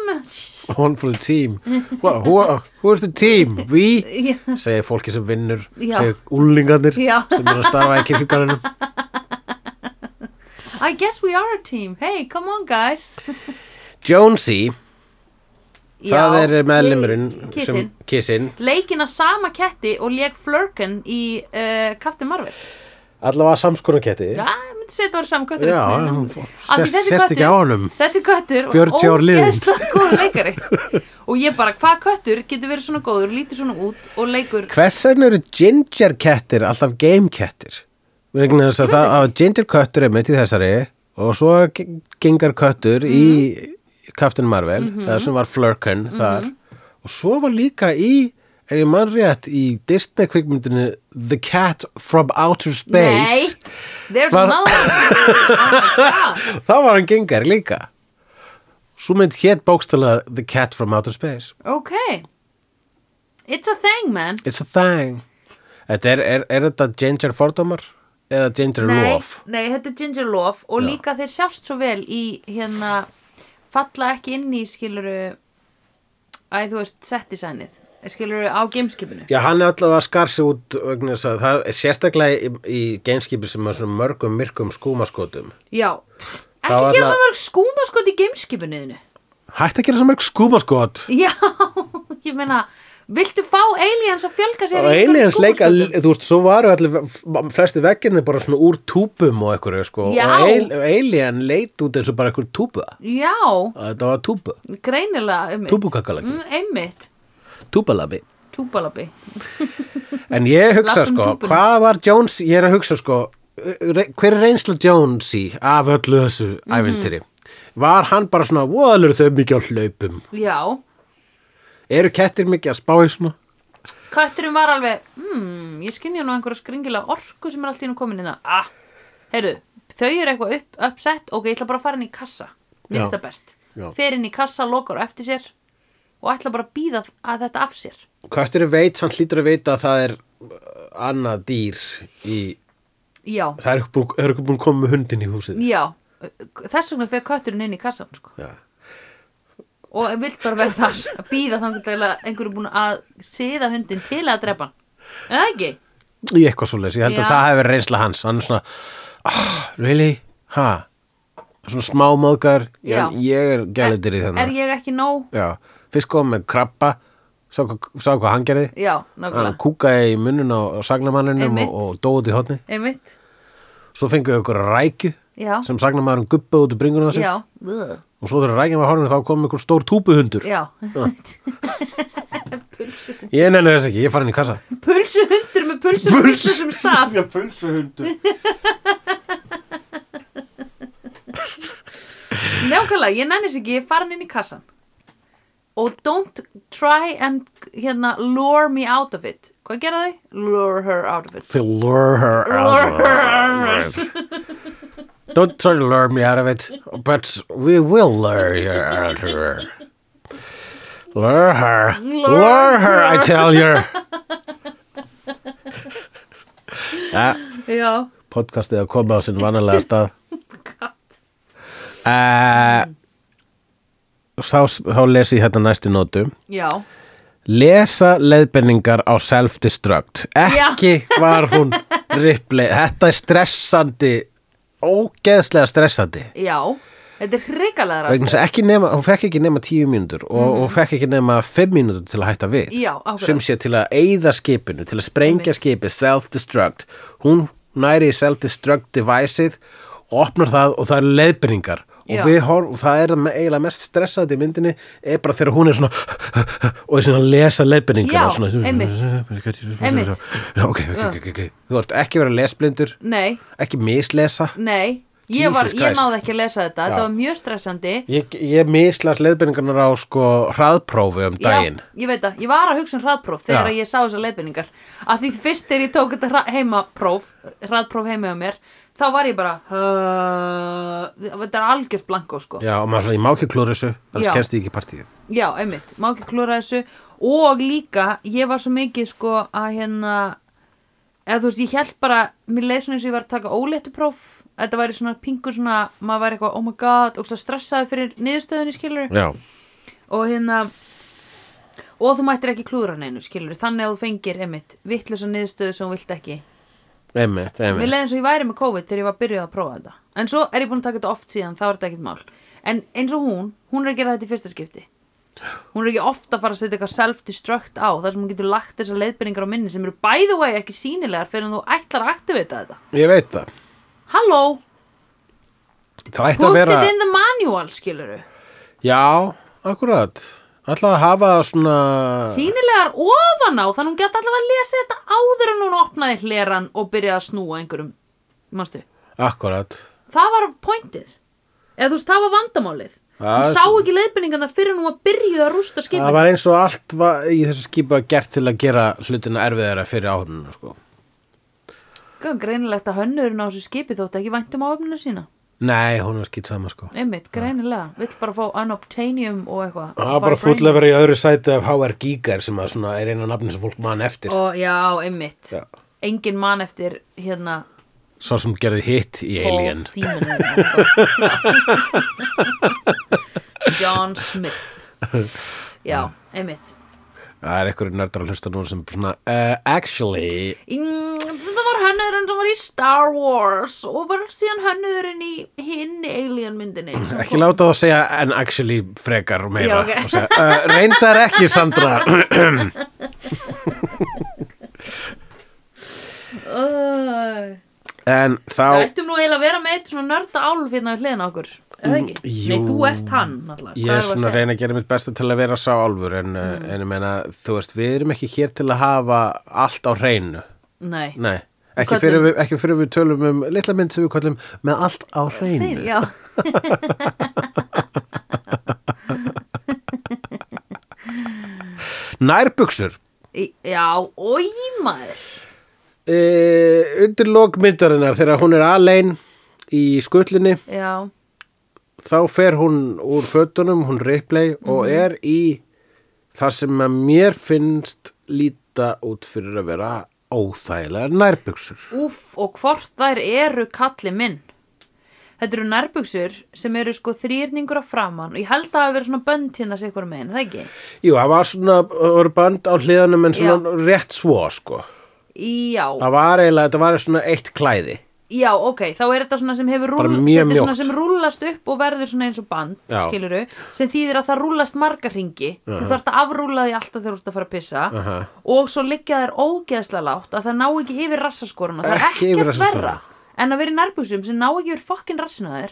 one for the team Wha- who, are- who is the team? We,
Já,
segir fólki sem vinnur
Já.
segir úlingarnir
Já.
sem eru að starfa í kirkjugarðinum
I guess we are a team, hey, come on guys
Jonesy, það
Já,
er eh, meðlimurinn
Kissinn.
kissin
Leikin að sama ketti og lék Flurkin í uh, eh, Captain Marvel
allavega samskonum ketti
Já, ég myndi segja þetta var samkvættur
já hún sest, sest ekki á honum
Þessi köttur
40 ár liðin.
ógeðslega góður leikari Og ég bara, hvað köttur getur verið svona góður, lítur svona út og leikur
hvers vegna eru ginger kettir alltaf game kettir vegna þess að það að ginger köttur er mitt í þessari og svo er ge- gengar köttur í Captain Marvel það sem var Flurkin þar og svo var líka í ef ég mann rétt í Disney kvikmyndinu The Cat from Outer
Nei,
Space
there's
Var-
another one. Oh my God.
þá var hann gengar líka svo mynd hétt bókstala The Cat from Outer Space
Ok It's a thing, man
It's a thing Þetta er, er, er þetta Ginger Fordómar eða Ginger
Nei,
Love
nei, þetta er Ginger Love og
Já.
líka þeir sjást svo vel í hérna falla ekki inn í skiluru að þú veist set designið skiluru á gameskipinu
Já, hann er allavega að skar sig út vegna þess að það er sérstaklega í, í gameskipi sem er svona mörgum myrkum skúmaskotum
Já,
Þá
ekki gera
alla-
svo mörg skúmaskot í gameskipinuðinu
Hætt að gera svo mörg skúmaskot
Já, ég meina viltu fá aliens að fjölga sér
og
í einhverjum
aliens leika,
skúmaskotum?
þú veist, svo varu allir flesti veggirni bara svona úr túpum og einhverju, sko,
Já.
og al- alien leit út eins og bara einhver túpa
Já,
þetta var túpa,
greinilega einmitt.
túpukakkalaki,
Mm, einmitt, Mm.
túpalabi
túbalabi
En ég hugsa
Lappum
sko,
túpunum.
hvað var Jones, ég er að hugsa sko, re- hver er reynsla Jones í af öllu þessu
Mhm.
ævintýri? Var hann bara svona, voðalur þau mikið á hlaupum?
Já,
Eru kettir mikið að spá í svona?
Kötturinn var alveg, hmm, ég skynja nú einhverja skringilega orku sem er allt í hennu komin innan. Ah, heyrðu, þau eru eitthvað upp, uppsett, ok, ég ætla bara að fara inn í kassa. Mér
Já.
finnst það best.
Já.
Fer inn í kassa, lokar á eftir sér og ætla bara að býða að þetta af sér.
Köttur veit, hann hlýtur að veita að það er uh, annað dýr í,
Já,
það er ekki búin, er ekki búin að koma með hundin í húsið.
já, þess vegna fer kötturinn inn í kassan, sko.
Já.
Og vilt bara vera þar að býða þannig til að einhverju búin að siða hundin til að drepa hann. En það ekki?
Í eitthvað svoleiðis, ég held
Já.
að það hefur reynsla hans, hann er svona, ah, really, ha, svona smámóðgar,
Já.
ég, ég er gælitir í þennan.
Er ég ekki nóg?
Já, fyrst kom með krabba sá, hvað- sá hvað hann gerði
Já,
hann
nákvæmlega.
kúkaði í munnun á, á sagnamanninum
Einmitt.
og, og dóði í hotni
Einmitt,
svo fenguðu ykkur rækju
já,
sem sagnamannin guppaði út í bringuna á sig
já. Ugh.
og svo þegar rækjan var horfinn þá kom ykkur stór túpuhundur
Já,
ég nenni þess ekki, ég fari inn í kassa
pulsuhundur með pulsum
Puls-
pulsu sem stað
Já, pulsuhundur
Nákvæmlega, ég nennis ekki, ég er farin inn í kassan Og don't try and hérna, lure me out of it Hvað gera þau? Lure her out of it
They lure her out
Lure
of
her out of it
it. Don't try to lure me out of it But we will lure you out of her Lure her
Lure
Lure her, I tell you Ja,
Já,
podcastið að koma á sinn vanalega stað
katt
uh, þá, þá les ég þetta næstu nótu
Já,
Lesa leiðbenningar á self-destruct. Ekki var hún ripley. Þetta er stressandi, ógeðslega stressandi.
já, þetta er
Vegna
hrikalega rast
þess að ekki nema, hún fekk ekki nema tíu mínútur og, og fekk ekki nema fimm mínútur til að hætta við.
Mhm. Já, akkurat.
Sem sé til að eyða skipinu, til að sprengja
Einmitt.
skipið, self-destruct. Hún næri í self-destruct deviceið og opnar það og það eru leiðbyrningar.
Já.
Og við horf, og það er me- eiginlega mest stressandi í myndinni er bara þegar hún er svona og er svona að lesa leiðbyrningar
Já,
og svona,
einmitt. Einmitt.
Já, ok, ok, ok, ok. Þú ert ekki verið að lesblindur,
Nei,
ekki mislesa.
nei Ég, var,
Jesus
ég
Christ.
náði ekki að lesa þetta,
Já.
þetta var mjög stressandi
Ég, ég mislas leiðbyrningarnar á sko hraðprófi um daginn.
Já, ég veit það, ég var að hugsa um hraðpróf þegar
Já.
ég sá þessar leiðbyrningar að því fyrst þegar ég tók þetta hra- heimapróf hraðpróf heima á mér þá var ég bara uh, þetta er algjört blankó sko já.
Já, og maður svona, ég má ekki klúra þessu,
Já.
annars kennst ég ekki í partíið.
einmitt, má ekki klúra þessu og líka, ég var svo mikið sko að hérna eða þú veist, ég held bara, mér leið svona eins og ég var að taka óléttu próf þetta væri svona pingur svona, maður væri eitthvað, oh my god og stressaði fyrir niðurstöðunni skilur
Já.
og hérna og þú mættir ekki klúðra neinu skilur þannig að þú fengir einmitt vittlösa niðurstöðu sem þú vilt ekki
Einmitt,
mér
einmitt.
leiði eins og ég væri með COVID þegar ég var byrjuð að prófa þetta en svo er ég búin að taka þetta oft síðan þá er þetta ekkert mál en eins og hún, hún er að gera þetta í fyrsta skipti hún er ekki ofta að fara að setja eitthvað self-destruct á þar sem hún getur lagt þessar leiðbyrningar á minni sem eru by the way ekki sýnilegar fyrir en þú ætlar að aktivita þetta
Ég veit það.
Halló,
Það ætti að
put
vera...
it in the manual skiluru
Já, akkurat. Ætla að hafa það svona...
sýnilegar ofan á þannig hún geta allavega að lesa þetta áður en hún opnaði hleran og byrjaði að snúa einhverjum manstu,
Akkurat.
það var pointið eða þú veist, það var vandamálið
Það
hún
er
sá
svo-
ekki leiðbyrningarnar fyrir en hún var byrjuð að rústa skipinu
Það var eins og allt var í þessu skipa gert til að gera hlutina erfiðara fyrir áhrununa, sko.
greinilegt að hönnurinn á þessu skipi þótt ekki væntum á öfninu sína
Nei, hún var skýt sama, sko.
einmitt, greinilega, vill bara fá unobtainium og eitthvað
Það var bara
brain-
full að vera í öðru sæti af HR Giger sem að svona er eina nafni sem fólk mann eftir.
og já, einmitt,
Já.
engin mann eftir hérna
Svo sem gerði hitt í
Paul
Alien.
Seaman eða eitthvað. John Smith já, einmitt
Það er einhverju nördar að hlusta nú sem svona, uh, actually,
Mm, sem það var hönnurinn sem var í Star Wars og var síðan hönnurinn í hinn alien myndinni sem
Mm, ekki
kom-
láta það að segja en actually frekar og meira.
Já, ok.
og segja, uh, reyndar ekki, Sandra.
Æ.
en
Við
þá...
ættum nú eiginlega að vera með eitt svona nörda álf hérna við hliðina á okkur, eða ekki?
Mm, jú.
Nei, þú ert hann alltaf,
Ég er svona að reyna að gera mitt besta til að vera sá álfur en, mm. en ég meina, þú veist, við erum ekki hér til að hafa allt á hreinu
Nei,
Nei, ekki
Köllum-
fyrir, við, ekki fyrir við tölum um litla mynd sem við kallum með allt á hreinu
Nei, já
Nærbuxur
Í- Já, oi maður
e, Undir lókmyndarinnar þegar hún er alein í skullunni
Já,
þá fer hún úr fötunum, hún replay
Mhm.
og er í þar sem að mér finnst líta út fyrir að vera óþægilega nærbuxur
úff og hvort þær eru kalli minn Þetta eru nærbuxur sem eru sko þrýrningur að framan og ég held að það hafi verið svona bönd hérna sér ykkur megin, er það ekki?
Jú, það var svona, það voru band á hliðanum en svona rétt svo, sko.
Já,
Það var eiginlega, þetta var svona eitt klæði.
já, ok, þá er þetta svona sem hefur
Bara
rúll-
mjög
þetta er svona
mjótt.
sem rúllast upp og verður svona eins og band,
Já.
skiluru, sem þýðir að það rúllast marga hringi, þú þarft að afrúlla því alltaf þegar þú ert að fara að pissa
Aha.
og svo liggja þær ógeðslega lágt að það ná ekki yfir rassaskoruna það er
Ekki yfir
ekkert
rassaskoruna.
verra en að vera í nærbúsum sem ná ekki yfir fokkin rassina þær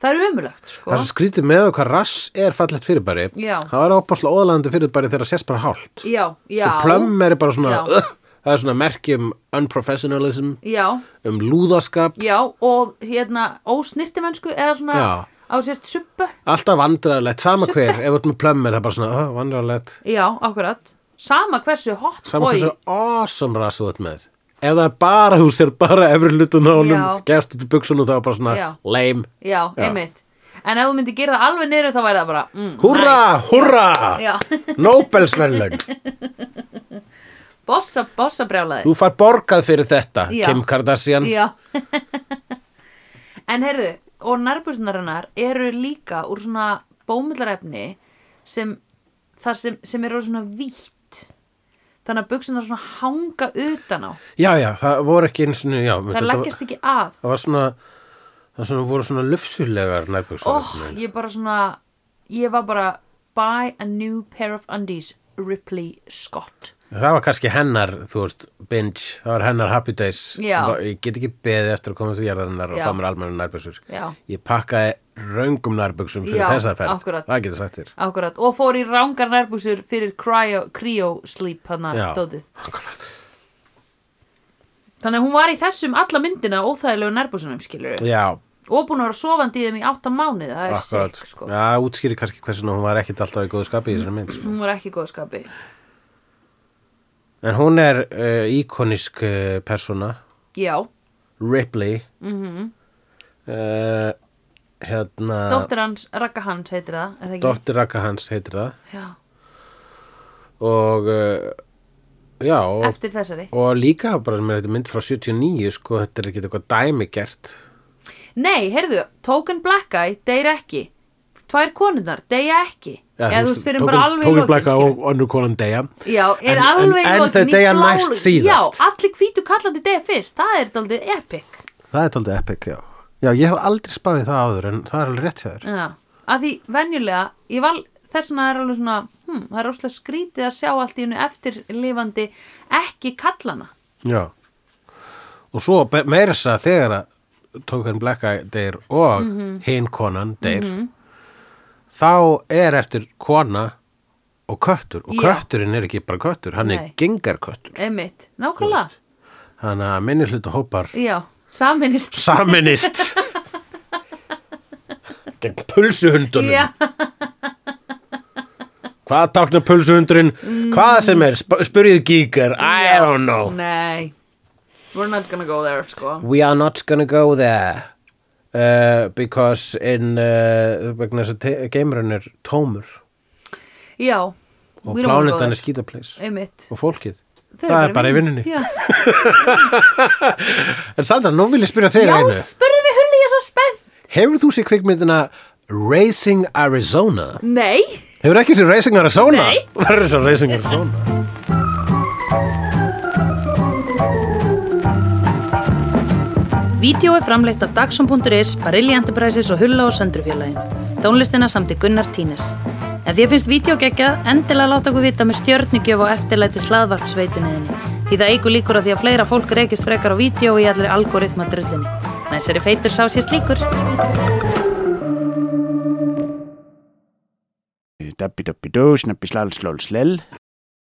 það er ömulegt
Það
sko
er svo skrítið með það hvað rass er fallegt fyrirbæri.
Já.
Það var ápáslega óðalandi fyrirbæri þegar það sést bara hálft.
já, já,
Svo plömm er bara svona,
Já.
uh, það er svona merki um unprofessionalism,
já,
um lúðaskap,
já og hérna ósnirtimennsku eða svona
Já.
á sérst suppu
alltaf vandræðalegt, sama hver, ef þú ert með plömm er það bara svona, uh, vandræðalegt.
já, akkurat sama hversu hot
Sama
boy
hversu awesome rass þú ert með. Ef það er bara, þú sér bara efri hlutun á honum,
Já.
gerst þetta buksunum, það var bara svona,
Já.
lame.
já, einmitt en ef þú myndir gera það alveg niður þá væri það bara mm,
Húrra,
nice.
húrra
Já.
Nóbelsverðlaun
bossa, bossa brjálaði
Þú far borgað fyrir þetta,
Já.
Kim Kardashian
Já En heyrðu, og nærbúsnarinnar eru líka úr svona bómullarefni sem, þar sem, sem eru svona vítt þannig að buksunar svona hanga utan á
Já, já, það voru ekki eins og já, þetta
það
var-
leggjast ekki að
Það var svona Það svona, voru svona lufsulegar
Ó,
nærbjöksverðlaun
Oh, ég bara svona ég var bara buy a new pair of undies Ripley Scott
Það var kannski hennar, þú veist, binge Það var hennar happy days
Já.
Hún bara, Ég get ekki beðið eftir að koma þessi jarðarinnar og
Já.
fá mér almennu nærbjöksur
Já.
Ég pakkaði raungum nærbjöksum fyrir
Já,
þessa ferð
akkúrat.
Það getur sagt þér
Akkurat, og fór í rángar nærbuxur fyrir cryo, cryo sleep hana
Já.
dótið Þannig að hún var í þessum alla myndina óþægilegu nærbúsunum skilur
Já,
og búin að vera sofandi í þeim í átta mánuði það er
akkurat
sikk sko
Já, útskýri kannski hversu hún var ekkit alltaf í góðu skapi í þessari mynd sko.
hún var ekki í góðu skapi
En hún er uh, íkonisk uh, persóna,
já,
Ripley mm uh, Hérna
Mhm. dóttir hans, Ragga hans heitir það eða ekki?
Dóttir Raka hans heitir það
Já,
og uh, já og,
eftir þessari
og líka bara með þetta mynd frá 79 sko, þetta er ekki eitthvað dæmi gert
nei, heyrðu, Token Black Eye deyr ekki tvær konundar, deyja ekki eða þú veist, fyrir bara alveg í
Tókin
lokin
Blacka
skilur.
og önnur konan deyja
já,
En-
er
en-
alveg í
en
lokin
þau
í
deyja
bláu-
næst síðast.
já, allir hvítu kallandi deyja fyrst það er daldið epic
Það er tóldið epic, já Já, ég hef aldrei spáðið það áður en það er alveg rétt hjá þér
já, að því venjulega ég val þess vegna er alveg svona hm, það er óslega skrítið að sjá allt í hennu eftirlifandi ekki kallana
Já og svo be- meira þess að þegar að Tókan Blekka deyr og mm
Mhm.
hinn konan deyr þá er eftir kona og köttur og
Já.
kötturinn er ekki bara köttur, hann er
Nei.
gengarköttur
einmitt, nákvæmlega,
þannig að minni hluta hópar
já, saminist
saminist gegn pulsuhundunum
já,
hvað tákna pulsuhundurinn hvað sem er, sp spurðið gíkar I
Já.
don't know
nei we're not gonna go there, sko
we are not gonna go there uh, because in uh, vegna þess að te- geimurinn er tómur
já,
og
we don't wanna go
plánetan er
there.
skítapleis
einmitt,
og fólkið
Þau
það
eru
er bara í vinnunni
já,
en Sandra, nú vil ég spyrja þig
já
að einu
spurðu mig hulli, ég er svo spennt
hefur þú sér kvikmyndina Racing Arizona
nei,
hefur ekki sér Racing Arizona
Nei.
verður svo Racing Arizona
Vídeó er framleitt af Dagsum.is, Barilli Enterprises og Hulla og Söndrufjörlægin. Tónlistina samt í Gunnar Tínes. Ef því finnst vídeo geggja, endilega láta okkur vita með stjörnugjöf og eftirlæti slaðvartsveituninni. Því það eigur líkur að því að fleira fólk reykist frekar á vídeo í allir algoritma drullinni. Næsari feitur sá sér slíkur.
Dabbi dabbi dó, snabbi slal slól slell